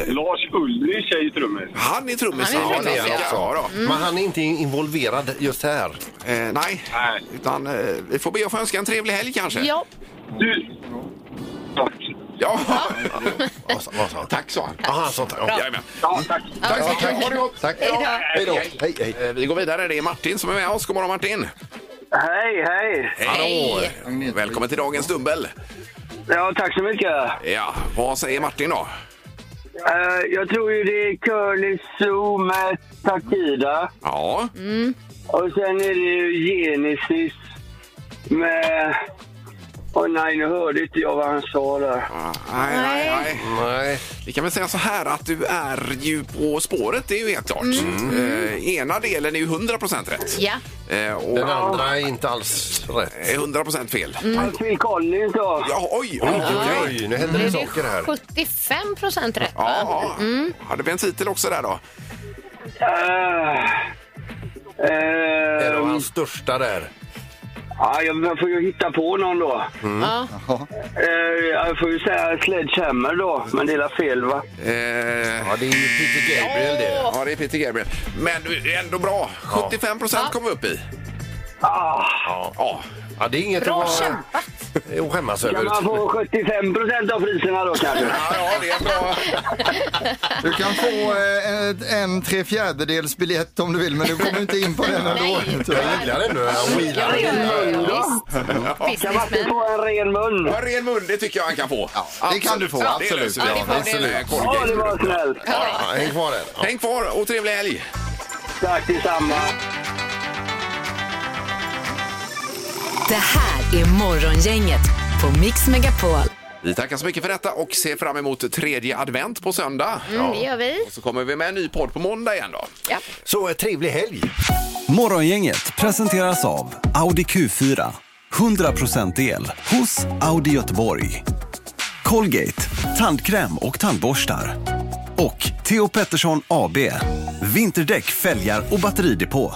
[SPEAKER 2] Lars Ulrich är ju trummis.
[SPEAKER 4] Han är trummis.
[SPEAKER 7] Han är
[SPEAKER 4] Ja,
[SPEAKER 5] Ja, det är han
[SPEAKER 4] ja,
[SPEAKER 5] också.
[SPEAKER 4] ja, då.
[SPEAKER 5] Men han är inte involverad just här.
[SPEAKER 4] Eh, Nej,
[SPEAKER 2] Nej.
[SPEAKER 4] utan eh, vi får be att få önska en trevlig helg kanske.
[SPEAKER 7] Ja.
[SPEAKER 2] Du... Tack.
[SPEAKER 4] Ja.
[SPEAKER 5] Vad sa- vad sa han?
[SPEAKER 4] Tack sa han.
[SPEAKER 5] Ja, han sa tack. Ja.
[SPEAKER 4] Jajamän.
[SPEAKER 2] Ja, tack.
[SPEAKER 4] Tack så mycket. Ha det gott.
[SPEAKER 5] Tack. Hej då. Hej, hej.
[SPEAKER 4] Eh, Vi går vidare. Det är Martin som är med oss. God morgon Martin.
[SPEAKER 2] Hej, hej.
[SPEAKER 4] Hallå. Välkommen till dagens dubbel.
[SPEAKER 2] Ja, tack så mycket.
[SPEAKER 4] Ja, vad säger Martin då?
[SPEAKER 2] Eh, jag tror ju det är Curly Zoo med Takida.
[SPEAKER 4] Ja,
[SPEAKER 2] Och sen är det ju Genesis med... Åh nej, nu hörde inte jag vad han sa där.
[SPEAKER 4] Ah, nej, nej,
[SPEAKER 7] Nej.
[SPEAKER 4] nej.
[SPEAKER 5] Nej.
[SPEAKER 4] Vi kan väl säga så här att du är ju på spåret, det är ju helt klart. Eh, ena delen är ju 100% rätt.
[SPEAKER 7] Ja.
[SPEAKER 4] Eh, och
[SPEAKER 5] Den andra är inte alls rätt.
[SPEAKER 4] är 100% fel.
[SPEAKER 2] Phil Collins då.
[SPEAKER 4] Ja, oj, oj, oj.
[SPEAKER 5] Oj,
[SPEAKER 4] oj.
[SPEAKER 5] oj, nu händer det
[SPEAKER 7] Blev det
[SPEAKER 5] saker här.
[SPEAKER 7] 75 procent rätt?
[SPEAKER 4] Ja,
[SPEAKER 7] va?
[SPEAKER 4] ja. hade vi en titel också där då?
[SPEAKER 2] Eh, eh,
[SPEAKER 5] En av hans största där.
[SPEAKER 2] ja, jag får ju hitta på någon då.
[SPEAKER 7] Ja.
[SPEAKER 2] Eh, jag får ju säga Sledgehammer då, men det är la fel va?
[SPEAKER 4] Eh,
[SPEAKER 5] Ja, det är ju Peter Gabriel det.
[SPEAKER 4] ja, det är Peter Gabriel. Men du, ändå bra. 75% kom vi upp i.
[SPEAKER 5] Ja.
[SPEAKER 4] Ja,
[SPEAKER 5] Ja, det är inget
[SPEAKER 7] Bra
[SPEAKER 5] att vara-
[SPEAKER 7] kämpat!
[SPEAKER 5] att skämmas över.
[SPEAKER 2] Kan man få 75 procent av priserna då kanske?
[SPEAKER 4] ja, ja det är bra.
[SPEAKER 6] Du kan få eh, ett- en tre fjärdedels biljett om du vill, men du kommer inte in på den ändå.
[SPEAKER 7] Nej.
[SPEAKER 5] Jag gillar den nu. Han
[SPEAKER 7] Ja,
[SPEAKER 5] wheelar.
[SPEAKER 7] ja, ja. Visst.
[SPEAKER 2] Kan man inte
[SPEAKER 7] Businessman.
[SPEAKER 2] få en ren mun?
[SPEAKER 4] En ren mun, det tycker jag han kan få. Ja,
[SPEAKER 6] kan du få, absolut.
[SPEAKER 4] Det är
[SPEAKER 5] Ja,
[SPEAKER 4] löser vi. Det är en
[SPEAKER 2] Ja, det
[SPEAKER 4] Colgate.
[SPEAKER 2] var snällt.
[SPEAKER 5] Ja, häng kvar där. Ja.
[SPEAKER 4] Häng kvar och trevlig helg!
[SPEAKER 2] Tack detsamma.
[SPEAKER 3] Det här är Morgongänget på Mix Megapol.
[SPEAKER 4] Vi tackar så mycket för detta och ser fram emot tredje advent på söndag.
[SPEAKER 7] Mm, det gör vi.
[SPEAKER 4] Och så kommer vi med en ny podd på måndag igen då.
[SPEAKER 7] Ja.
[SPEAKER 5] Så eh, trevlig helg.
[SPEAKER 11] Morgongänget presenteras av Audi Q4. 100% el hos Audi Göteborg. Colgate, tandkräm och tandborstar. Och Theo Pettersson AB, vinterdäck, fälgar och batteridepå.